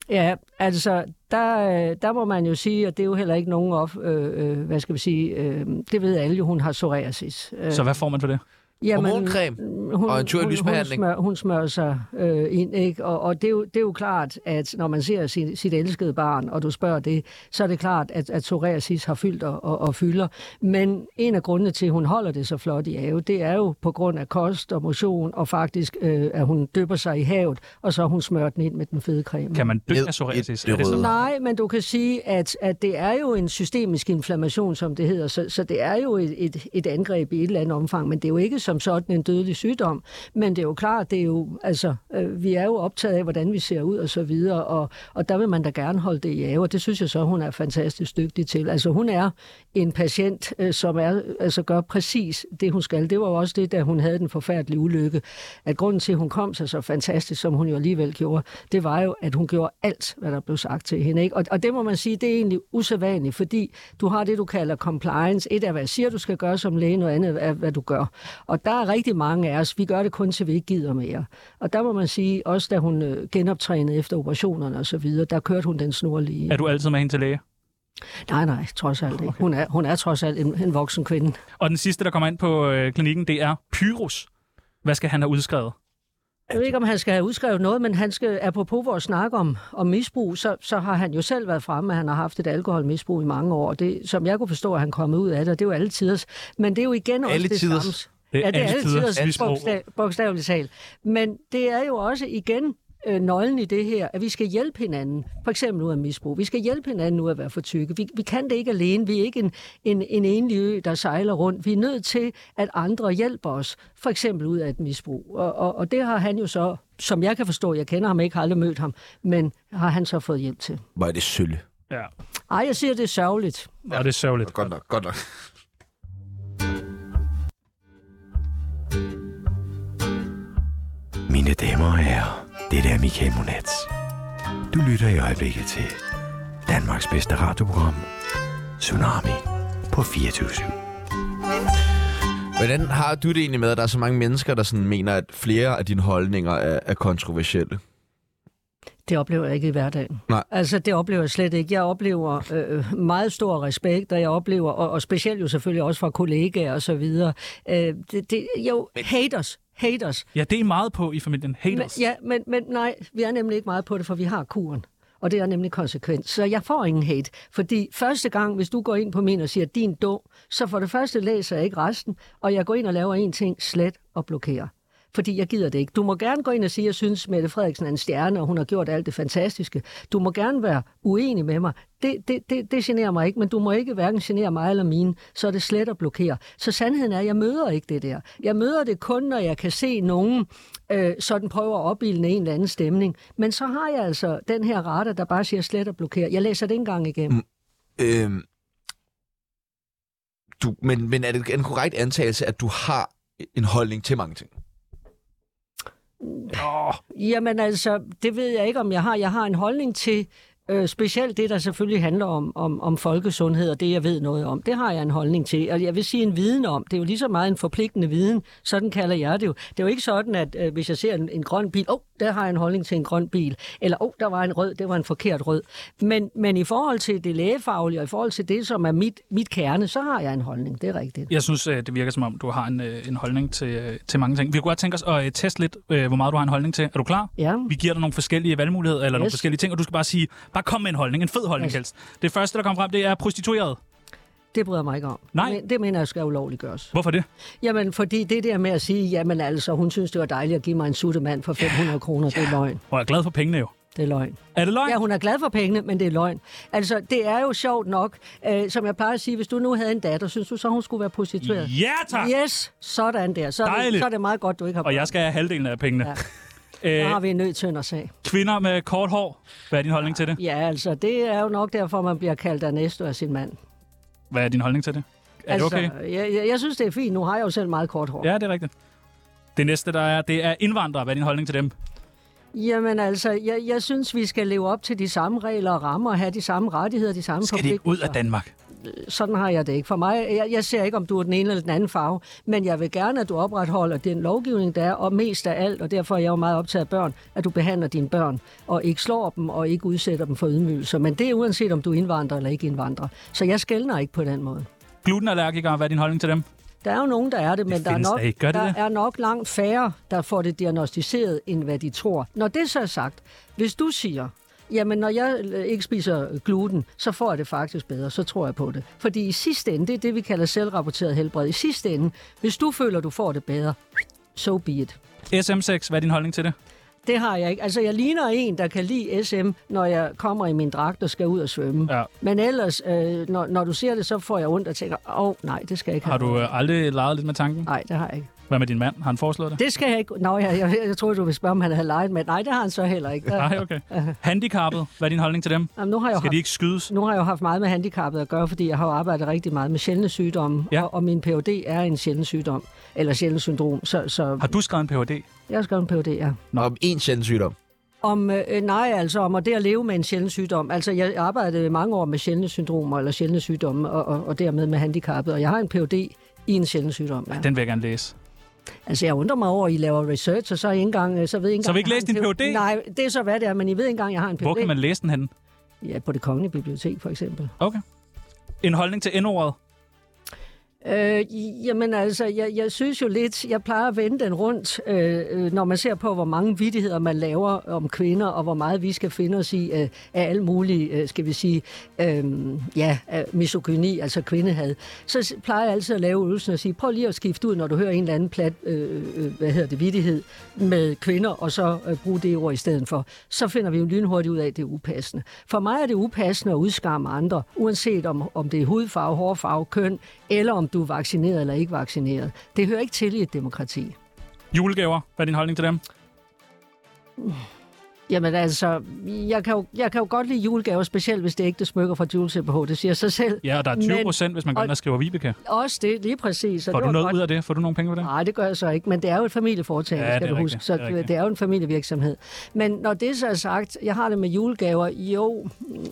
Speaker 3: Ja, altså, der, øh, der må man jo sige, og det er jo heller ikke nogen of, øh, øh, hvad skal vi sige, øh, det ved alle jo, hun har psoriasis. Øh,
Speaker 4: Så hvad får man for det?
Speaker 3: jamen,
Speaker 1: Hormoncreme
Speaker 3: hun,
Speaker 1: og en tyr lysbehandling.
Speaker 3: Hun, hun, smør, hun smører sig øh, ind, ikke? Og, og det, er jo, det er jo klart, at når man ser sit, sit elskede barn, og du spørger det, så er det klart, at, at psoriasis har fyldt og, og, og fylder. Men en af grundene til, at hun holder det så flot i have, det er jo på grund af kost og motion, og faktisk, øh, at hun dypper sig i havet, og så har hun smørt den ind med den fede creme.
Speaker 4: Kan man dø
Speaker 1: Ned
Speaker 4: af psoriasis?
Speaker 1: i det
Speaker 4: Er det sådan?
Speaker 1: røde.
Speaker 3: Nej, men du kan sige, at, at det er jo en systemisk inflammation, som det hedder, så, så det er jo et, et, et angreb i et eller andet omfang, men det er jo ikke som sådan en dødelig sygdom, men det er jo klart, det er jo, altså, øh, vi er jo optaget af, hvordan vi ser ud og så videre, og, og der vil man da gerne holde det i ave, og det synes jeg så, hun er fantastisk dygtig til. Altså, hun er en patient, øh, som er, altså, gør præcis det, hun skal. Det var jo også det, da hun havde den forfærdelige ulykke, at grunden til, at hun kom sig så fantastisk, som hun jo alligevel gjorde, det var jo, at hun gjorde alt, hvad der blev sagt til hende. Ikke? Og, og det må man sige, det er egentlig usædvanligt, fordi du har det, du kalder compliance. Et er, hvad jeg siger, du skal gøre som læge, noget andet er, hvad du gør. Og der er rigtig mange af os, vi gør det kun til, vi ikke gider mere. Og der må man sige, også da hun øh, genoptrænede efter operationerne og så videre, der kørte hun den snor lige.
Speaker 4: Er du altid med hende til læge?
Speaker 3: Nej, nej, trods alt ikke. Hun er, hun er trods alt en, en voksen kvinde.
Speaker 4: Og den sidste, der kommer ind på øh, klinikken, det er Pyrus. Hvad skal han have udskrevet?
Speaker 3: Jeg ved ikke, om han skal have udskrevet noget, men han skal, apropos vores snak om, om misbrug, så, så har han jo selv været fremme, at han har haft et alkoholmisbrug i mange år. Det, som jeg kunne forstå, at han kommet ud af det, og det er jo alle tiders. Men det er jo igen også
Speaker 1: Alle
Speaker 3: det
Speaker 1: tiders.
Speaker 3: samme.
Speaker 4: Det er
Speaker 3: ja, det er
Speaker 4: alle
Speaker 3: alle
Speaker 4: tiders
Speaker 3: tiders,
Speaker 4: misbrug.
Speaker 3: bogsta- bogstaveligt talt. Men det er jo også igen øh, nøglen i det her, at vi skal hjælpe hinanden, for eksempel ud af misbrug. Vi skal hjælpe hinanden ud af at være for tykke. Vi, vi kan det ikke alene. Vi er ikke en, en, en enlig ø, der sejler rundt. Vi er nødt til, at andre hjælper os, for eksempel ud af et misbrug. Og, og, og det har han jo så, som jeg kan forstå, jeg kender ham ikke, har aldrig mødt ham, men har han så fået hjælp til.
Speaker 1: Hvor er det sølle.
Speaker 4: Ja.
Speaker 3: Ej, jeg siger, det er sørgeligt.
Speaker 4: Og det er sørgeligt.
Speaker 1: Godt nok, godt nok.
Speaker 9: Mine damer og herrer, det er Michael Monats. Du lytter i øjeblikket til Danmarks bedste radioprogram, Tsunami på 24
Speaker 1: Hvordan har du det egentlig med, at der er så mange mennesker, der sådan mener, at flere af dine holdninger er, er kontroversielle?
Speaker 3: Det oplever jeg ikke i hverdagen.
Speaker 1: Nej.
Speaker 3: Altså, det oplever jeg slet ikke. Jeg oplever øh, meget stor respekt, og jeg oplever, og, og specielt jo selvfølgelig også fra kollegaer og så videre. Øh, det, det, jo, haters. Haters.
Speaker 4: Ja, det er I meget på i familien.
Speaker 3: Men,
Speaker 4: Haters.
Speaker 3: ja, men, men nej, vi er nemlig ikke meget på det, for vi har kuren. Og det er nemlig konsekvens. Så jeg får ingen hate. Fordi første gang, hvis du går ind på min og siger, din dum, så for det første læser jeg ikke resten, og jeg går ind og laver en ting, slet og blokerer. Fordi jeg gider det ikke. Du må gerne gå ind og sige, at jeg synes, Mette Frederiksen er en stjerne, og hun har gjort alt det fantastiske. Du må gerne være uenig med mig. Det, det, det, det generer mig ikke, men du må ikke hverken genere mig eller mine, så er det slet at blokere. Så sandheden er, at jeg møder ikke det der. Jeg møder det kun, når jeg kan se nogen øh, sådan prøver at opbilde en eller anden stemning. Men så har jeg altså den her radar, der bare siger slet at blokere. Jeg læser det ikke engang igennem. Mm.
Speaker 1: Øhm, du, men, men er det en korrekt antagelse, at du har en holdning til mange ting.
Speaker 3: Jamen altså, det ved jeg ikke, om jeg har. Jeg har en holdning til øh, specielt det, der selvfølgelig handler om, om, om folkesundhed og det, jeg ved noget om. Det har jeg en holdning til, og jeg vil sige en viden om. Det er jo lige så meget en forpligtende viden, sådan kalder jeg det jo. Det er jo ikke sådan, at øh, hvis jeg ser en, en grøn bil, åh, oh, der har jeg en holdning til en grøn bil, eller åh, oh, der var en rød, det var en forkert rød. Men, men i forhold til det lægefaglige, og i forhold til det, som er mit, mit kerne, så har jeg en holdning, det er rigtigt.
Speaker 4: Jeg synes, øh, det virker som om, du har en, øh, en holdning til, øh, til mange ting. Vi kunne godt tænke os at øh, teste lidt, øh, hvor meget du har en holdning til. Er du klar?
Speaker 3: Ja.
Speaker 4: Vi giver dig nogle forskellige valgmuligheder, eller yes. nogle
Speaker 3: Yes.
Speaker 4: forskellige ting, og du skal bare sige, bare kom med en holdning, en fed holdning yes.
Speaker 3: Yes.
Speaker 4: helst. Det første, der kommer frem, det er prostitueret.
Speaker 3: Det bryder jeg mig ikke om.
Speaker 4: Nej.
Speaker 3: Men, det mener jeg skal ulovliggøres.
Speaker 4: Hvorfor det?
Speaker 3: Jamen, fordi det der med at sige, jamen altså, hun synes, det var dejligt at give mig en suttemand for 500 kroner, det er løgn.
Speaker 4: Og jeg er glad for pengene jo.
Speaker 3: Det er løgn.
Speaker 4: Er det løgn?
Speaker 3: Ja, hun er glad for pengene, men det er løgn. Altså, det er jo sjovt nok, øh, som jeg plejer at sige, hvis du nu havde en datter, synes du så, hun skulle være prostitueret?
Speaker 4: ja tak! Yeah.
Speaker 3: Yes, sådan der. Så, er det,
Speaker 4: Dejligt.
Speaker 3: så er det meget godt, du ikke har
Speaker 4: Og jeg skal have halvdelen af pengene.
Speaker 3: børn.
Speaker 4: Ja.
Speaker 3: Så
Speaker 4: (laughs) Øh,
Speaker 3: har vi en nødt tynd sag.
Speaker 4: kvinder med kort hår. Hvad er din holdning til det?
Speaker 3: Ja, altså, det er jo nok derfor, man bliver kaldt Ernesto af sin mand.
Speaker 4: Hvad er din holdning til det? Er det
Speaker 3: altså,
Speaker 4: okay?
Speaker 3: jeg, jeg, jeg synes, det er fint. Nu har jeg jo selv meget kort hår.
Speaker 4: Ja, det er rigtigt. Det næste, der er, det er indvandrere. Hvad er din holdning til dem?
Speaker 3: Jamen altså, jeg, jeg synes, vi skal leve op til de samme regler og rammer, og have de samme rettigheder, de samme
Speaker 4: Skal de ikke ud af Danmark?
Speaker 3: sådan har jeg det ikke. For mig, jeg, jeg ser ikke, om du er den ene eller den anden farve, men jeg vil gerne, at du opretholder den lovgivning, der er, og mest af alt, og derfor er jeg jo meget optaget af børn, at du behandler dine børn, og ikke slår dem, og ikke udsætter dem for ydmygelser. Men det er uanset, om du er indvandrer eller ikke indvandrer. Så jeg skældner ikke på den måde.
Speaker 4: Glutenallergikere, hvad er din holdning til dem?
Speaker 3: Der er jo nogen, der er det, men der, er
Speaker 4: findes
Speaker 3: nok,
Speaker 4: da ikke. Gør det
Speaker 3: der
Speaker 4: det?
Speaker 3: er nok langt færre, der får det diagnostiseret, end hvad de tror. Når det så er sagt, hvis du siger, jamen når jeg øh, ikke spiser gluten, så får jeg det faktisk bedre, så tror jeg på det. Fordi i sidste ende, det er det, vi kalder selvrapporteret helbred, i sidste ende, hvis du føler, du får det bedre, so be it.
Speaker 4: SM6, hvad er din holdning til det?
Speaker 3: Det har jeg ikke. Altså, jeg ligner en, der kan lide SM, når jeg kommer i min dragt og skal ud og svømme.
Speaker 4: Ja.
Speaker 3: Men ellers, øh, når, når du ser det, så får jeg ondt og tænker, åh, oh, nej, det skal jeg ikke
Speaker 4: Har
Speaker 3: have.
Speaker 4: du øh, aldrig leget lidt med tanken?
Speaker 3: Nej, det har jeg ikke.
Speaker 4: Hvad med din mand? Har han foreslået det?
Speaker 3: Det skal jeg ikke. Nå, jeg, jeg, jeg troede, du ville spørge, om han havde leget med. Nej, det har han så heller ikke. Der,
Speaker 4: (laughs) Nej, okay. Handicappet, hvad er din holdning til dem?
Speaker 3: jamen, nu, har jeg jo
Speaker 4: Skal de
Speaker 3: haft,
Speaker 4: ikke skydes?
Speaker 3: nu har jeg jo haft meget med handicappede at gøre, fordi jeg har jo arbejdet rigtig meget med sjældne sygdomme.
Speaker 4: Ja.
Speaker 3: Og, og min PhD er en sjælden sygdom, eller sjælden syndrom. Så, så
Speaker 4: Har du skrevet en Ph.D.?
Speaker 3: jeg har skrevet en PhD, ja.
Speaker 1: Nå. Om én sjælden sygdom.
Speaker 3: Om, øh, nej, altså om at det at leve med en sjælden sygdom. Altså, jeg arbejdede mange år med sjældne syndromer, eller sjældne sygdomme, og, og, og dermed med handicappede. Og jeg har en PhD i en sjælden sygdom. Ja.
Speaker 4: Den vil jeg gerne læse.
Speaker 3: Altså, jeg undrer mig over, at I laver research, og så, er I ikke engang, øh, så ved I ikke engang...
Speaker 4: Så har vi ikke
Speaker 3: jeg
Speaker 4: læst
Speaker 3: har
Speaker 4: din PhD?
Speaker 3: en Nej, det er så, hvad det er, men I ved ikke engang, jeg har en PhD.
Speaker 4: Hvor kan man læse den henne?
Speaker 3: Ja, på det kongelige bibliotek for eksempel.
Speaker 4: Okay. En holdning til N-ordet.
Speaker 3: Øh, i- jamen altså, jeg, jeg synes jo lidt, jeg plejer at vende den rundt, øh, øh, når man ser på, hvor mange vidtigheder man laver om kvinder, og hvor meget vi skal finde os i øh, af alle mulige, øh, skal vi sige, øh, ja, af misogyni, altså kvindehad. Så s- plejer jeg altid at lave øvelsen og sige, prøv lige at skifte ud, når du hører en eller anden plat, øh, øh, hvad hedder det, vittighed med kvinder, og så øh, bruge det ord i stedet for. Så finder vi jo lynhurtigt ud af, at det er upassende. For mig er det upassende at udskamme andre, uanset om, om det er hudfarve, hårfarve, køn, eller om du er vaccineret eller ikke vaccineret. Det hører ikke til i et demokrati.
Speaker 4: Julegaver, hvad er din holdning til dem?
Speaker 3: Jamen altså, jeg kan, jo, jeg kan jo godt lide julegaver, specielt hvis det er ægte smykker fra Jules CPH, det siger sig selv.
Speaker 4: Ja, og der er 20
Speaker 3: Men-
Speaker 4: procent, hvis man går ind og skriver Vibeke.
Speaker 3: Også det, lige præcis. og
Speaker 4: Får
Speaker 3: det
Speaker 4: du
Speaker 3: var
Speaker 4: noget
Speaker 3: godt.
Speaker 4: ud af det? Får du nogle penge på det?
Speaker 3: Nej, det gør jeg så ikke, men det er jo et familieforetagende,
Speaker 4: Ja,
Speaker 3: ja,
Speaker 4: det
Speaker 3: skal
Speaker 4: er
Speaker 3: du
Speaker 4: rigtigt,
Speaker 3: huske. Så øh,
Speaker 4: det er rigtigt.
Speaker 3: det er jo en familievirksomhed. Men når det så er sagt, jeg har det med julegaver, jo,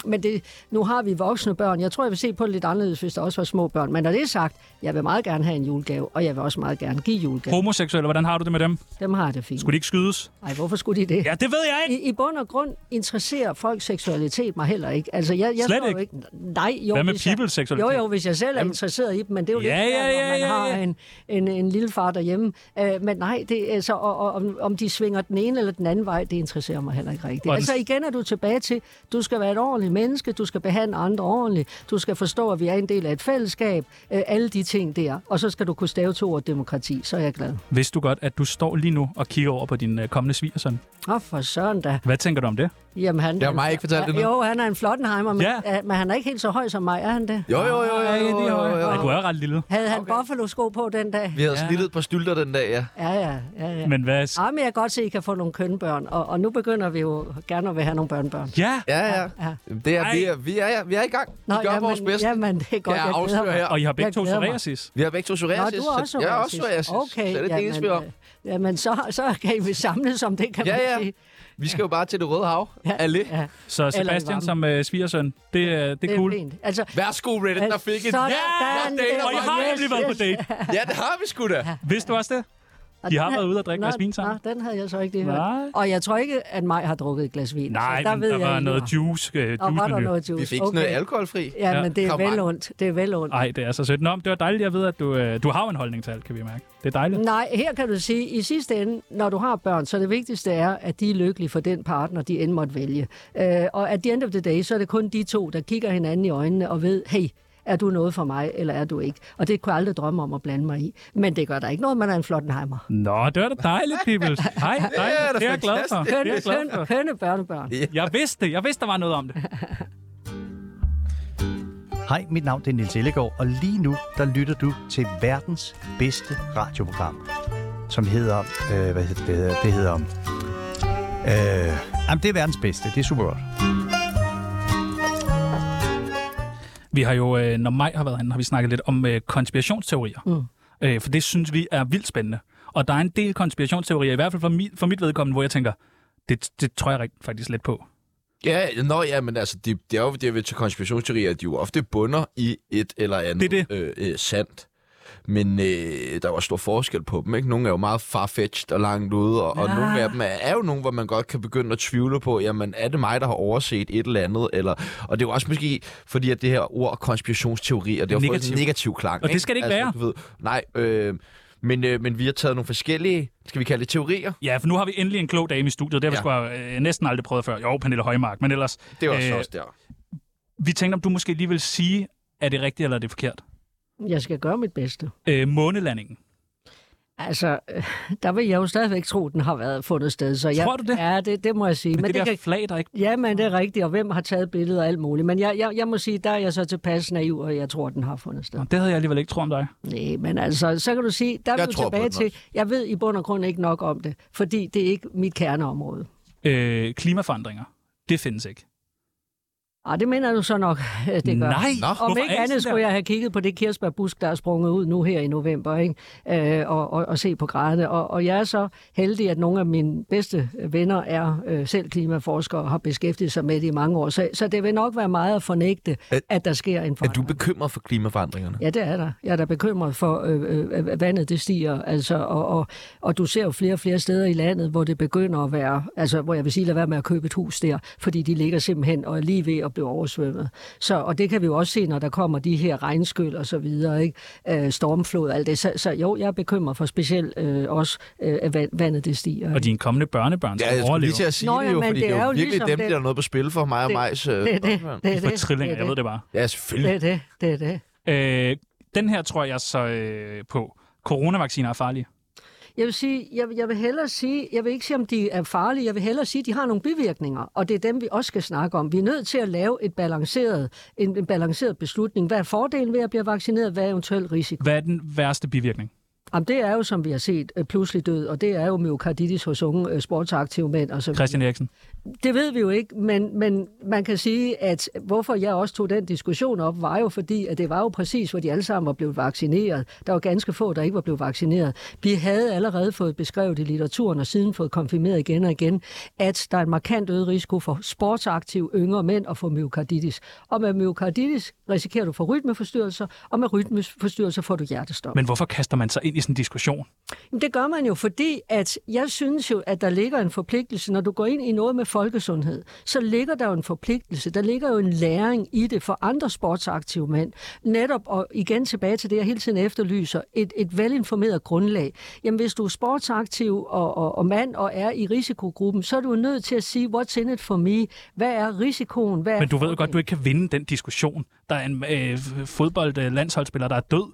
Speaker 3: men det, nu har vi voksne børn. Jeg tror, jeg vil se på det lidt anderledes, hvis der også var små børn. Men når det er sagt, jeg vil meget gerne have en julegave, og jeg vil også meget gerne give julegave.
Speaker 4: Homoseksuelle, hvordan har du det med dem?
Speaker 3: Dem har jeg det fint.
Speaker 4: Skulle de ikke skydes?
Speaker 3: Nej, hvorfor skulle de det?
Speaker 4: Ja, det ved jeg ikke.
Speaker 3: I, I bund og grund interesserer folks seksualitet mig heller ikke. Altså, jeg, jeg
Speaker 4: Slet
Speaker 3: står jo
Speaker 4: ikke?
Speaker 3: Nej, jo,
Speaker 4: Hvad med
Speaker 3: hvis jeg-
Speaker 4: peoples seksualitet?
Speaker 3: Jo, jo, hvis jeg selv er interesseret i dem, men det er jo
Speaker 4: Ja,
Speaker 3: lidt
Speaker 4: ja,
Speaker 3: svært,
Speaker 4: ja,
Speaker 3: når man
Speaker 4: ja,
Speaker 3: har
Speaker 4: ja.
Speaker 3: En, en, en lille far derhjemme. Øh, men nej, det, er altså, og, og, om- om de svinger den ene eller den anden vej, det interesserer mig heller ikke rigtigt.
Speaker 4: Og den-
Speaker 3: altså igen er du tilbage til, du skal være et ordentligt menneske, du skal behandle andre ordentligt, du skal forstå, at vi er en del af et fællesskab, øh, alle de ting der. Og så skal du kunne stave to ord demokrati, så er jeg glad.
Speaker 4: Vidste du godt, at du står lige nu og kigger over på din øh, kommende svigersøn?
Speaker 3: Åh, for søren da.
Speaker 4: Hvad tænker du om det?
Speaker 3: Jamen, han,
Speaker 1: Det har mig ikke fortalt det nu.
Speaker 3: Jo, han er en flottenheimer, men,
Speaker 4: Ja.
Speaker 3: ja. men han er ikke helt så høj som mig, er han Ah, det?
Speaker 1: Jo, jo, jo, jo, jo, jo, jo,
Speaker 4: Ej,
Speaker 1: jo.
Speaker 4: du er ret lille.
Speaker 3: Havde han okay. buffalo-sko på den dag?
Speaker 1: Vi havde snittet på stylter den dag, ja.
Speaker 3: Ja, ja, ja. ja.
Speaker 4: Men hvad... sk-
Speaker 3: Ah, men jeg kan godt se, at I kan få nogle kønbørn, og, og nu begynder vi jo gerne at vil have nogle børnebørn.
Speaker 4: Ja,
Speaker 1: Ja, ja.
Speaker 3: Ja.
Speaker 1: Det er, vi, er, vi, er, ja, vi er i gang. Vi gør
Speaker 3: jamen,
Speaker 1: vores bedste.
Speaker 3: Jamen, det er godt,
Speaker 1: Kan jeg
Speaker 3: jeg, glæder
Speaker 1: afsløre
Speaker 3: mig.
Speaker 1: her?
Speaker 4: og I har begge
Speaker 3: Jeg
Speaker 4: to
Speaker 3: glæder mig.
Speaker 4: psoriasis.
Speaker 1: Vi har begge to psoriasis.
Speaker 3: Nå, du er også
Speaker 1: så-
Speaker 3: psoriasis.
Speaker 1: Jeg er også psoriasis.
Speaker 3: Okay,
Speaker 1: så det er det eneste, vi har.
Speaker 3: øh, Jamen, så, så kan I vel samles om det, kan
Speaker 1: Ja,
Speaker 3: man
Speaker 1: ja.
Speaker 3: sige.
Speaker 1: Vi skal jo bare til det røde hav. Ja. Alle.
Speaker 3: Ja,
Speaker 4: Så Sebastian
Speaker 3: varmen.
Speaker 4: som øh, svigersøn, det, øh, det, det
Speaker 3: det
Speaker 4: er
Speaker 3: er
Speaker 4: cool.
Speaker 3: fint. Altså,
Speaker 1: Værsgo, Reddit, der fik en.
Speaker 3: sådan,
Speaker 1: Ja, jeg dater
Speaker 4: Og I
Speaker 1: mig.
Speaker 4: har
Speaker 3: Yes,
Speaker 4: nemlig været på
Speaker 3: yes.
Speaker 4: date.
Speaker 1: ja, det har vi sgu da.
Speaker 4: Vidste du også det?
Speaker 3: Og
Speaker 4: I
Speaker 3: den
Speaker 4: har
Speaker 3: her-
Speaker 4: været ude og drikke
Speaker 3: Nå,
Speaker 4: glas vin sammen?
Speaker 3: Nå, den havde jeg så ikke lige
Speaker 4: Nej.
Speaker 3: hørt. Og jeg tror ikke, at mig har drukket et glas vin.
Speaker 4: Nej,
Speaker 3: så der
Speaker 4: men
Speaker 3: ved
Speaker 4: der
Speaker 3: jeg,
Speaker 4: var
Speaker 3: I
Speaker 4: noget
Speaker 3: har.
Speaker 4: juice. Øh,
Speaker 3: Og var der
Speaker 4: juice
Speaker 3: noget juice?
Speaker 1: Vi fik okay. noget alkoholfri.
Speaker 3: Ja,
Speaker 4: Ja.
Speaker 3: men det er
Speaker 1: Kom,
Speaker 3: vel
Speaker 1: Mark.
Speaker 3: ondt. Det er vel ondt.
Speaker 4: Nej, det er så sødt. Nå, men det var dejligt. Jeg ved, at du, øh, du har jo en holdning til alt, kan vi mærke. Det er dejligt.
Speaker 3: Nej, her kan du sige, i sidste ende, når du har børn, så det vigtigste er, at de er lykkelige for den partner, de end måtte vælge. Øh, og at the end of the day, så er det kun de to, der kigger hinanden i øjnene og ved, hey, er du noget for mig, eller er du ikke? Og det kunne jeg aldrig drømme om at blande mig i. Men det gør der ikke noget, man er en flottenheimer.
Speaker 4: Nå, det var da dejligt, people. Hej, dejligt. Det er,
Speaker 1: da
Speaker 4: det er jeg glad for. Det er
Speaker 3: Kønne,
Speaker 4: jeg glad
Speaker 3: kønne,
Speaker 4: for.
Speaker 3: kønne børnebørn.
Speaker 4: Jeg vidste det. Jeg vidste, der var noget om det.
Speaker 10: Hej, mit navn det er Nils Ellegaard, og lige nu der lytter du til verdens bedste radioprogram, som hedder... Øh, hvad hedder det? Det hedder... Øh, jamen, det er verdens bedste. Det er super godt.
Speaker 4: Vi har jo, øh, når mig har været herinde, har vi snakket lidt om øh, konspirationsteorier. Mm. Øh, for det synes vi er vildt spændende. Og der er en del konspirationsteorier, i hvert fald for, mi, for mit vedkommende, hvor jeg tænker, det, det tror jeg rigt- faktisk lidt på.
Speaker 1: Ja, nå ja, men altså, det, det er jo det, ved til konspirationsteorier, at de jo ofte bunder i et eller andet
Speaker 4: Det er det.
Speaker 1: Øh, øh, sandt. Men øh, der var stor forskel på dem, ikke? Nogle er jo meget farfetched og langt ude, og, ja. og nogle af dem er, er jo nogle, hvor man godt kan begynde at tvivle på, jamen, er det mig, der har overset et eller andet? Eller, og det er jo også måske, fordi at det her ord konspirationsteorier, det har fået
Speaker 4: Negativ.
Speaker 1: en negativ klang. Altså,
Speaker 4: Og det skal det ikke være.
Speaker 1: Du ved, nej, øh, men, øh, men vi har taget nogle forskellige, skal vi kalde det teorier?
Speaker 4: Ja, for nu har vi endelig en klog dame i studiet. Det har vi
Speaker 1: Ja.
Speaker 4: sgu øh, næsten aldrig prøvet før. Jo, Pernille Højmark, men ellers...
Speaker 1: Det var øh, så også der.
Speaker 4: Vi tænkte, om du måske lige vil sige, er det rigtigt eller er det forkert?
Speaker 3: Jeg skal gøre mit bedste.
Speaker 4: Øh, månelandingen.
Speaker 3: Altså, øh, der vil jeg jo stadigvæk tro, den har været fundet sted. Så jeg,
Speaker 4: Tror du det?
Speaker 3: Ja, det, det må jeg sige.
Speaker 4: Men, det, det der kan... flag, der ikke...
Speaker 3: Ja, men det er rigtigt, og hvem har taget billeder og alt muligt. Men jeg, jeg, jeg må sige, der er jeg så tilpas naiv, og jeg tror, den har fundet sted.
Speaker 4: Nå, Det havde jeg alligevel ikke tro om dig.
Speaker 3: Nej, men altså, så kan du sige, der er
Speaker 1: Jeg
Speaker 3: vi jo
Speaker 1: tror på
Speaker 3: tilbage
Speaker 1: den
Speaker 3: til,
Speaker 1: også.
Speaker 3: jeg ved i bund og grund ikke nok om det, fordi det er ikke mit kerneområde.
Speaker 4: Øh, klimaforandringer. Det findes ikke.
Speaker 3: Ah, det mener du så nok, (laughs) det gør.
Speaker 4: Nej,
Speaker 1: Nå,
Speaker 4: hvorfor
Speaker 3: Om
Speaker 4: er det
Speaker 3: ikke
Speaker 4: sådan
Speaker 3: andet
Speaker 4: der?
Speaker 3: skulle jeg have kigget på det kirsebærbusk, der er sprunget ud nu her i november, ikke? Øh, og, og, og se på grædene. Og, og jeg er så heldig, at nogle af mine bedste venner er øh, selv klimaforskere og har beskæftiget sig med det i mange år. Så, så det vil nok være meget at fornægte,
Speaker 1: Er-
Speaker 3: at der sker en
Speaker 1: Er du
Speaker 3: forandring.
Speaker 1: bekymret for klimaforandringerne?
Speaker 3: Ja, det er der. Jeg er da bekymret for, øh, øh, at vandet det stiger, altså, og, og, og du ser jo flere og flere steder i landet, hvor det begynder at være, altså, hvor jeg vil sige, lad være med at købe et hus der, fordi de ligger simpelthen og er lige ved at blive oversvømmet. Så, og det kan vi jo også se, når der kommer de her regnskyld og så videre, ikke? Øh, stormflod og alt det. Så, så jo, jeg er bekymret for specielt øh, også, øh, at vand- vandet det stiger.
Speaker 4: Og dine kommende
Speaker 1: Ja,
Speaker 4: børnebørn skal
Speaker 1: jeg skulle
Speaker 4: overleve.
Speaker 1: lige til at sige
Speaker 3: Nå,
Speaker 1: Nå, det
Speaker 3: ja,
Speaker 1: jo,
Speaker 3: men
Speaker 1: fordi det er jo virkelig ligesom dem,
Speaker 3: den-
Speaker 1: der er noget på spil for mig og Majs. Øh,
Speaker 3: det, det,
Speaker 1: børnebørn.
Speaker 3: det,
Speaker 4: For trillinger, jeg ved det bare.
Speaker 1: Ja, selvfølgelig.
Speaker 3: Det er det, det er det.
Speaker 4: Øh, den her tror jeg så øh, på. Coronavacciner er farlige.
Speaker 3: Jeg vil sige, jeg, jeg vil hellere sige, jeg vil ikke sige, om de er farlige, jeg vil hellere sige, at de har nogle bivirkninger, og det er dem, vi også skal snakke om. Vi er nødt til at lave et balanceret, en, en balanceret beslutning. Hvad er fordelen ved at blive vaccineret? Hvad er eventuel risiko?
Speaker 4: Hvad er den værste bivirkning?
Speaker 3: Jamen, det er jo, som vi har set, øh, pludselig død, og det er jo myokarditis hos unge øh, sportsaktive mænd. Og så videre.
Speaker 4: Christian Eriksen.
Speaker 3: Det ved vi jo ikke, men, men man kan sige, at hvorfor jeg også tog den diskussion op, var jo fordi, at det var jo præcis, hvor de alle sammen var blevet vaccineret. Der var ganske få, der ikke var blevet vaccineret. Vi havde allerede fået beskrevet i litteraturen og siden fået konfirmeret igen og igen, at der er en markant øget risiko for sportsaktive yngre mænd at få myokarditis. Og med myokarditis risikerer du for rytmeforstyrrelser, og med rytmeforstyrrelser får du hjertestop.
Speaker 4: Men hvorfor kaster man sig ind i sådan en diskussion?
Speaker 3: Jamen, Det gør man jo, fordi at jeg synes jo, at der ligger en forpligtelse. Når du går ind i noget med folkesundhed, så ligger der jo en forpligtelse. Der ligger jo en læring i det for andre sportsaktive mænd. Netop, og igen tilbage til det, jeg hele tiden efterlyser, et, et velinformeret grundlag. Jamen, hvis du er sportsaktiv og, og, og mand og er i risikogruppen, så er du jo nødt til at sige, what's in it for me? Hvad er risikoen? Hvad er
Speaker 4: Men du ved jo
Speaker 3: fordelen?
Speaker 4: godt, du ikke kan vinde den diskussion. Der er en øh, fodboldlandsholdsspiller, der er død.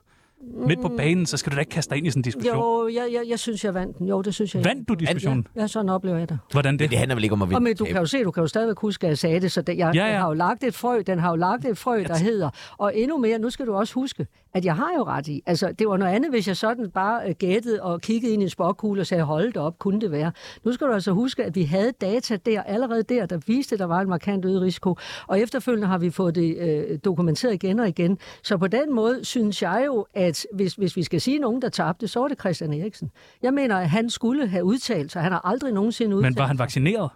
Speaker 4: midt på banen, så skal du da ikke kaste dig ind i sådan en diskussion.
Speaker 3: Mm. Jo, jeg, jeg, jeg synes, jeg vandt den. Jo, det synes jeg. jeg
Speaker 4: Vandt du diskussionen?
Speaker 3: Ja, sådan oplever jeg det.
Speaker 4: Hvordan det? Men
Speaker 1: det handler vel ikke om at
Speaker 3: Og men du kan jo se, du kan jo stadigvæk huske, at jeg sagde det, så det, jeg, ja,
Speaker 4: Ja, ja.
Speaker 3: ja. den har jo lagt et frø, den har jo lagt et frø, der hedder, og endnu mere, nu skal du også huske, at jeg har jo ret i, altså det var noget andet, hvis jeg sådan bare øh, gættede og kiggede ind i en spokkugle og sagde, hold da op, kunne det være. Nu skal du altså huske, at vi havde data der, allerede der, der viste, at der var en markant øget risiko, og efterfølgende har vi fået det øh, dokumenteret igen og igen, så på den måde synes jeg jo, at hvis, hvis vi skal sige nogen, der tabte, så var det Christian Eriksen. Jeg mener, at han skulle have udtalt sig, han har aldrig nogensinde udtalt
Speaker 4: Men var han vaccineret?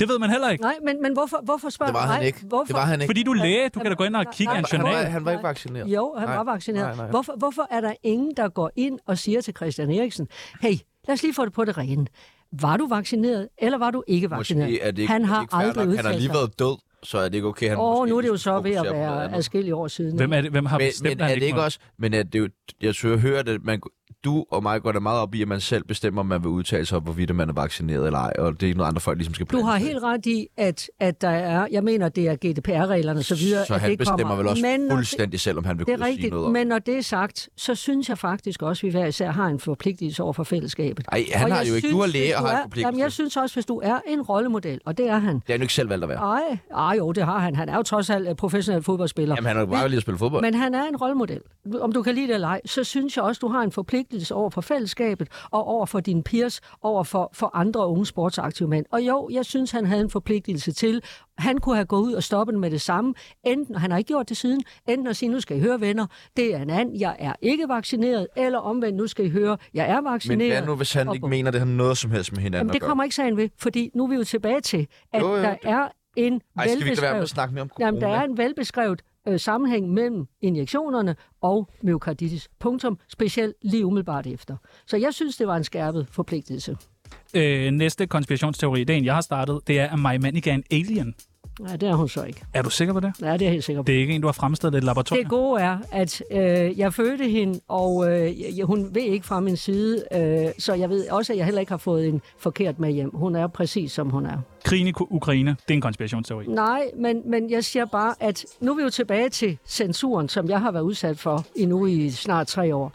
Speaker 4: Det ved man heller ikke.
Speaker 3: Nej, men, men hvorfor, hvorfor spørger
Speaker 1: Det var
Speaker 3: du
Speaker 1: han
Speaker 3: mig?
Speaker 1: ikke. Det
Speaker 3: Hvorfor?
Speaker 1: var han ikke.
Speaker 4: Fordi du er læge, du kan da gå ind og
Speaker 3: nej,
Speaker 4: kigge i en
Speaker 3: nej,
Speaker 1: Han var,
Speaker 4: journal.
Speaker 1: han var ikke vaccineret.
Speaker 3: Jo, han
Speaker 1: Nej.
Speaker 3: var vaccineret.
Speaker 1: Nej, nej.
Speaker 3: Hvorfor, hvorfor er der ingen, der går ind og siger til Christian Eriksen, hey, lad os lige få det på det rene. Var du vaccineret, eller var du ikke vaccineret?
Speaker 1: Måske er det ikke,
Speaker 3: han
Speaker 1: er
Speaker 3: har
Speaker 1: det ikke fair
Speaker 3: aldrig
Speaker 1: nok.
Speaker 3: udtalt
Speaker 1: Han har lige været død, så er det ikke okay, han
Speaker 3: Og
Speaker 1: måske
Speaker 3: nu er det jo
Speaker 1: lige
Speaker 3: så ved
Speaker 1: fokusere
Speaker 3: at
Speaker 1: på noget
Speaker 3: være altså-
Speaker 1: andet.
Speaker 3: adskillige år siden.
Speaker 4: Hvem, er det, hvem har
Speaker 1: Men,
Speaker 4: bestemt,
Speaker 1: men
Speaker 4: at
Speaker 1: er
Speaker 4: han
Speaker 1: det ikke
Speaker 4: må?
Speaker 1: også... Men er det jo, jeg søger at høre, at man, du og mig går da meget op i, at man selv bestemmer, om man vil udtale sig om, hvorvidt man er vaccineret eller ej, og det er ikke noget, andre folk ligesom skal
Speaker 3: Du
Speaker 1: blande
Speaker 3: har
Speaker 1: sig i.
Speaker 3: helt ret i, at, at der er, jeg mener, det er GDPR-reglerne så videre,
Speaker 1: Så
Speaker 3: at
Speaker 1: han
Speaker 3: det
Speaker 1: bestemmer
Speaker 3: kommer.
Speaker 1: vel også
Speaker 3: Men når det-
Speaker 1: fuldstændig selv, om han vil
Speaker 3: Det
Speaker 1: kunne
Speaker 3: er
Speaker 1: sige
Speaker 3: rigtigt,
Speaker 1: noget om.
Speaker 3: men når det er sagt, så synes jeg faktisk også, at vi hver især har en forpligtelse over for fællesskabet.
Speaker 1: Ej, han
Speaker 3: Og
Speaker 1: har
Speaker 3: jeg
Speaker 1: jo ikke. Du er
Speaker 3: synes,
Speaker 1: læge
Speaker 3: hvis
Speaker 1: og har en forpligtelse.
Speaker 3: Jamen, jeg synes også, hvis du er en rollemodel, og det er han.
Speaker 1: Det har han jo ikke selv valgt at være.
Speaker 3: Ej, ej jo, det har han. Han er jo trods alt øh, professionel fodboldspiller.
Speaker 1: Jamen, han har jo bare lige at spille fodbold.
Speaker 3: Men han er en rollemodel. Om du kan lide det eller ej, så synes jeg også, du har en forpligtelse over for fællesskabet og over for dine peers, over for, for andre unge sportsaktive mænd. Og jo, jeg synes, han havde en forpligtelse til. Han kunne have gået ud og stoppet den med det samme. Enten, og han har ikke gjort det siden, enten at sige, nu skal I høre venner, det er en anden, jeg er ikke vaccineret, eller omvendt, nu skal I høre, jeg er vaccineret.
Speaker 1: Men hvad nu, hvis han
Speaker 3: Og
Speaker 1: ikke
Speaker 3: bum.
Speaker 1: mener, det har noget som helst med hinanden
Speaker 3: Jamen, det
Speaker 1: at gøre?
Speaker 3: kommer ikke sagen ved, fordi nu er vi jo tilbage til, at
Speaker 1: Jo, jo,
Speaker 3: der
Speaker 1: det-
Speaker 3: er en
Speaker 1: Ej, skal vi ikke lade være med at
Speaker 3: velbeskrevet...
Speaker 1: snakke mere om corona?
Speaker 3: Jamen, der er en velbeskrevet øh, sammenhæng mellem injektionerne og myokarditis. Punktum. Specielt lige umiddelbart efter. Så jeg synes, det var en skærpet forpligtelse.
Speaker 4: Øh, næste konspirationsteori, det er en, jeg har startet, det er, at Maja Manica er en alien.
Speaker 3: Nej, det er hun så ikke.
Speaker 4: Er du sikker på det?
Speaker 3: Ja, det er jeg helt sikker på.
Speaker 4: Det er ikke en, du har fremstillet i et laboratorium?
Speaker 3: Det gode er, at øh, jeg fødte hende, og øh, jeg- hun ved ikke fra min side, øh, så jeg ved også, at jeg heller ikke har fået en forkert med hjem. Hun er præcis, som hun er.
Speaker 4: Krigen i Ku- Ukraine, det er en konspirationsteori.
Speaker 3: Nej, men, men jeg siger bare, at nu er vi jo tilbage til censuren, som jeg har været udsat for endnu i snart tre år.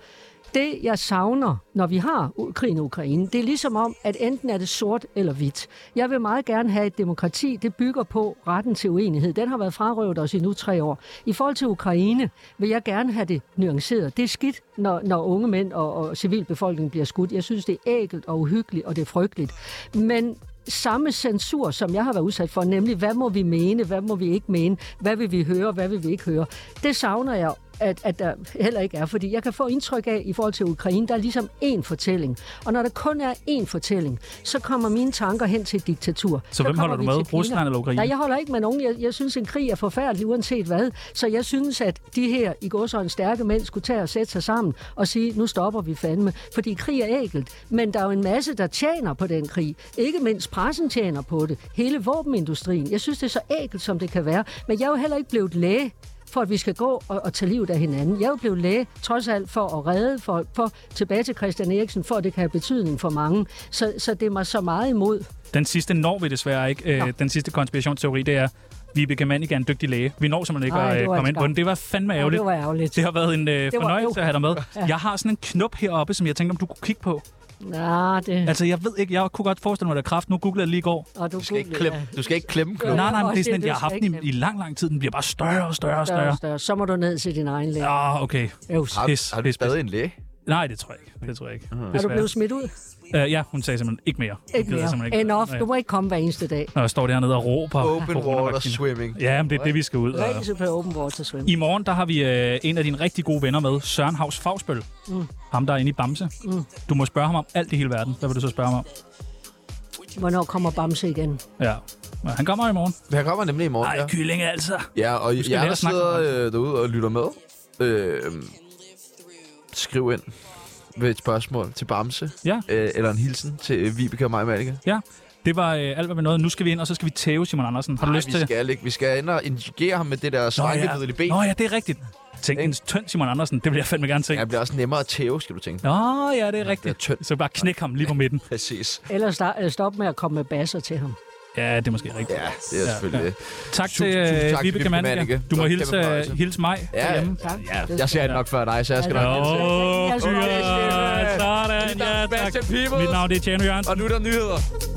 Speaker 3: Det, jeg savner, når vi har u- krigen i Ukraine, det er ligesom om, at enten er det sort eller hvidt. Jeg vil meget gerne have et demokrati, det bygger på retten til uenighed. Den har været frarøvet os i nu tre år. I forhold til Ukraine vil jeg gerne have det nuanceret. Det er skidt, når, når unge mænd og, og civilbefolkningen bliver skudt. Jeg synes, det er ægelt og uhyggeligt, og det er frygteligt. Men samme censur, som jeg har været udsat for, nemlig hvad må vi mene, hvad må vi ikke mene, hvad vil vi høre, hvad vil vi ikke høre. Det savner jeg at, at der heller ikke er, fordi jeg kan få indtryk af, i forhold til Ukraine, der er ligesom én fortælling. Og når der kun er én fortælling, så kommer mine tanker hen til et diktatur.
Speaker 4: Så hvem
Speaker 3: kommer
Speaker 4: holder du
Speaker 3: vi
Speaker 4: med?
Speaker 3: til Kina.
Speaker 4: Rusland eller Ukraine?
Speaker 3: Nej, jeg holder ikke med nogen. Jeg, jeg synes, en krig er forfærdelig, uanset hvad. Så jeg synes, at de her i gåsøjne stærke mænd skulle tage og sætte sig sammen og sige, nu stopper vi fandme. Fordi krig er ægelt, men der er jo en masse, der tjener på den krig. Ikke mindst pressen tjener på det. Hele våbenindustrien. Jeg synes, det er så ægelt, som det kan være. Men jeg er jo heller ikke blevet læge for at vi skal gå og, og tage livet af hinanden. Jeg er jo blevet læge, trods alt, for at redde folk, for tilbage til Christian Eriksen, for at det kan have betydning for mange. Så, så det er mig så meget imod.
Speaker 4: Den sidste når vi desværre ikke. Øh, den sidste konspirationsteori, det er, Vibeke Mannik er en dygtig læge. Vi når simpelthen ikke
Speaker 3: Ej,
Speaker 4: at
Speaker 3: det
Speaker 4: øh,
Speaker 3: var
Speaker 4: komme
Speaker 3: en
Speaker 4: ind på den.
Speaker 3: skam.
Speaker 4: Det var fandme
Speaker 3: Ja,
Speaker 4: ærgerligt.
Speaker 3: det var ærgerligt.
Speaker 4: Det har været en øh,
Speaker 3: var
Speaker 4: fornøjelse
Speaker 3: øv.
Speaker 4: at have dig med. Jeg har sådan en knop heroppe, som jeg tænkte, om du kunne kigge på.
Speaker 3: Ja, det...
Speaker 4: Altså, jeg ved ikke, jeg kunne godt forestille mig, at der er kraft. Nu googlede jeg lige i går.
Speaker 3: Og du,
Speaker 1: Du skal ikke klemme, du skal ikke klemme
Speaker 3: Ja,
Speaker 1: knogen.
Speaker 4: Nej, nej, men
Speaker 3: og
Speaker 4: det er
Speaker 3: siger,
Speaker 4: sådan, at
Speaker 3: du
Speaker 4: jeg har haft
Speaker 3: skal
Speaker 4: den
Speaker 3: ikke
Speaker 4: i, i lang, lang tid. Den bliver bare større og større og
Speaker 3: større
Speaker 4: større.
Speaker 3: og større. Så må du ned til din egen læge. Ja.
Speaker 4: Ah, okay.
Speaker 3: Øvs.
Speaker 1: Har,
Speaker 4: Pis,
Speaker 1: har du
Speaker 4: pis,
Speaker 1: stadig en læge?
Speaker 4: Nej, det tror jeg ikke. Det tror jeg ikke.
Speaker 1: Mhm.
Speaker 3: Er du blevet smidt ud?
Speaker 4: Uh, ja, hun sagde simpelthen ikke mere. Hun
Speaker 3: Ikke
Speaker 4: gider
Speaker 3: mere.
Speaker 4: simpelthen ikke.
Speaker 3: Enough.
Speaker 4: Nej.
Speaker 3: Du må ikke komme hver eneste dag.
Speaker 4: Når jeg står dernede og råber.
Speaker 1: Open water
Speaker 4: coronavaccine.
Speaker 1: swimming.
Speaker 4: Ja, men det er det, vi skal ud. Og...
Speaker 3: Rigtig på open water swim.
Speaker 4: I morgen, der har vi øh, en af dine rigtig gode venner med, Søren Havs Fagsbøl. Mm. Ham, der er inde i Bamse. Mm. Du må spørge ham om alt i hele verden. Hvad vil du så spørge ham om?
Speaker 3: Hvornår kommer Bamse igen?
Speaker 4: Ja. Men han kommer i morgen.
Speaker 1: Han kommer nemlig i morgen,
Speaker 4: Ej,
Speaker 1: ja.
Speaker 4: kylling altså.
Speaker 1: Ja, og
Speaker 4: skal
Speaker 1: jeg
Speaker 4: lære
Speaker 1: der
Speaker 4: at snakke
Speaker 1: sidder
Speaker 4: med
Speaker 1: øh, derude og lytter med. Øh, skriv ind med et spørgsmål til Bamse.
Speaker 4: Ja.
Speaker 1: Øh, eller en hilsen til øh, Vibeke og mig, Malika.
Speaker 4: Ja, det var øh, alt, hvad vi nåede. Nu skal vi ind, og så skal vi tæve Simon Andersen. Har du
Speaker 1: Nej,
Speaker 4: lyst
Speaker 1: vi
Speaker 4: til...
Speaker 1: skal ikke. Vi skal ind og injicere ham med det der slankevidel i ben.
Speaker 4: Nå ja, det er rigtigt. Tænk en tynd Simon Andersen. Det vil jeg fandme gerne se.
Speaker 1: Ja, det bliver også nemmere at tæve, skal du tænke.
Speaker 4: Nå ja, det er
Speaker 1: Det er
Speaker 4: rigtigt.
Speaker 1: tynd.
Speaker 4: Så bare knæk ham lige på midten.
Speaker 1: Præcis.
Speaker 3: Ellers sta- øh, stop med at komme med basser til ham.
Speaker 4: Ja, det er måske rigtigt.
Speaker 1: Ja, det er selvfølgelig det.
Speaker 4: Tak
Speaker 1: Tusind-
Speaker 4: til
Speaker 1: tusind tak
Speaker 4: øh,
Speaker 1: til
Speaker 4: Vibeke
Speaker 1: Vibeke
Speaker 4: Mannicke.
Speaker 1: Mannicke.
Speaker 4: Du
Speaker 1: Det var
Speaker 4: må
Speaker 1: en
Speaker 4: hilse,
Speaker 1: kæmpe
Speaker 4: øh,
Speaker 1: fornøjelse.
Speaker 4: hilse mig.
Speaker 1: Ja, ja.
Speaker 4: derhjemme.
Speaker 1: Ja, jeg ser det nok før dig, så jeg skal
Speaker 4: Nå,
Speaker 1: nok hilse.
Speaker 4: fyre, sådan, ja, tak. Mit navn det er Tjerno Jørgensen.
Speaker 1: Og nu er der nyheder.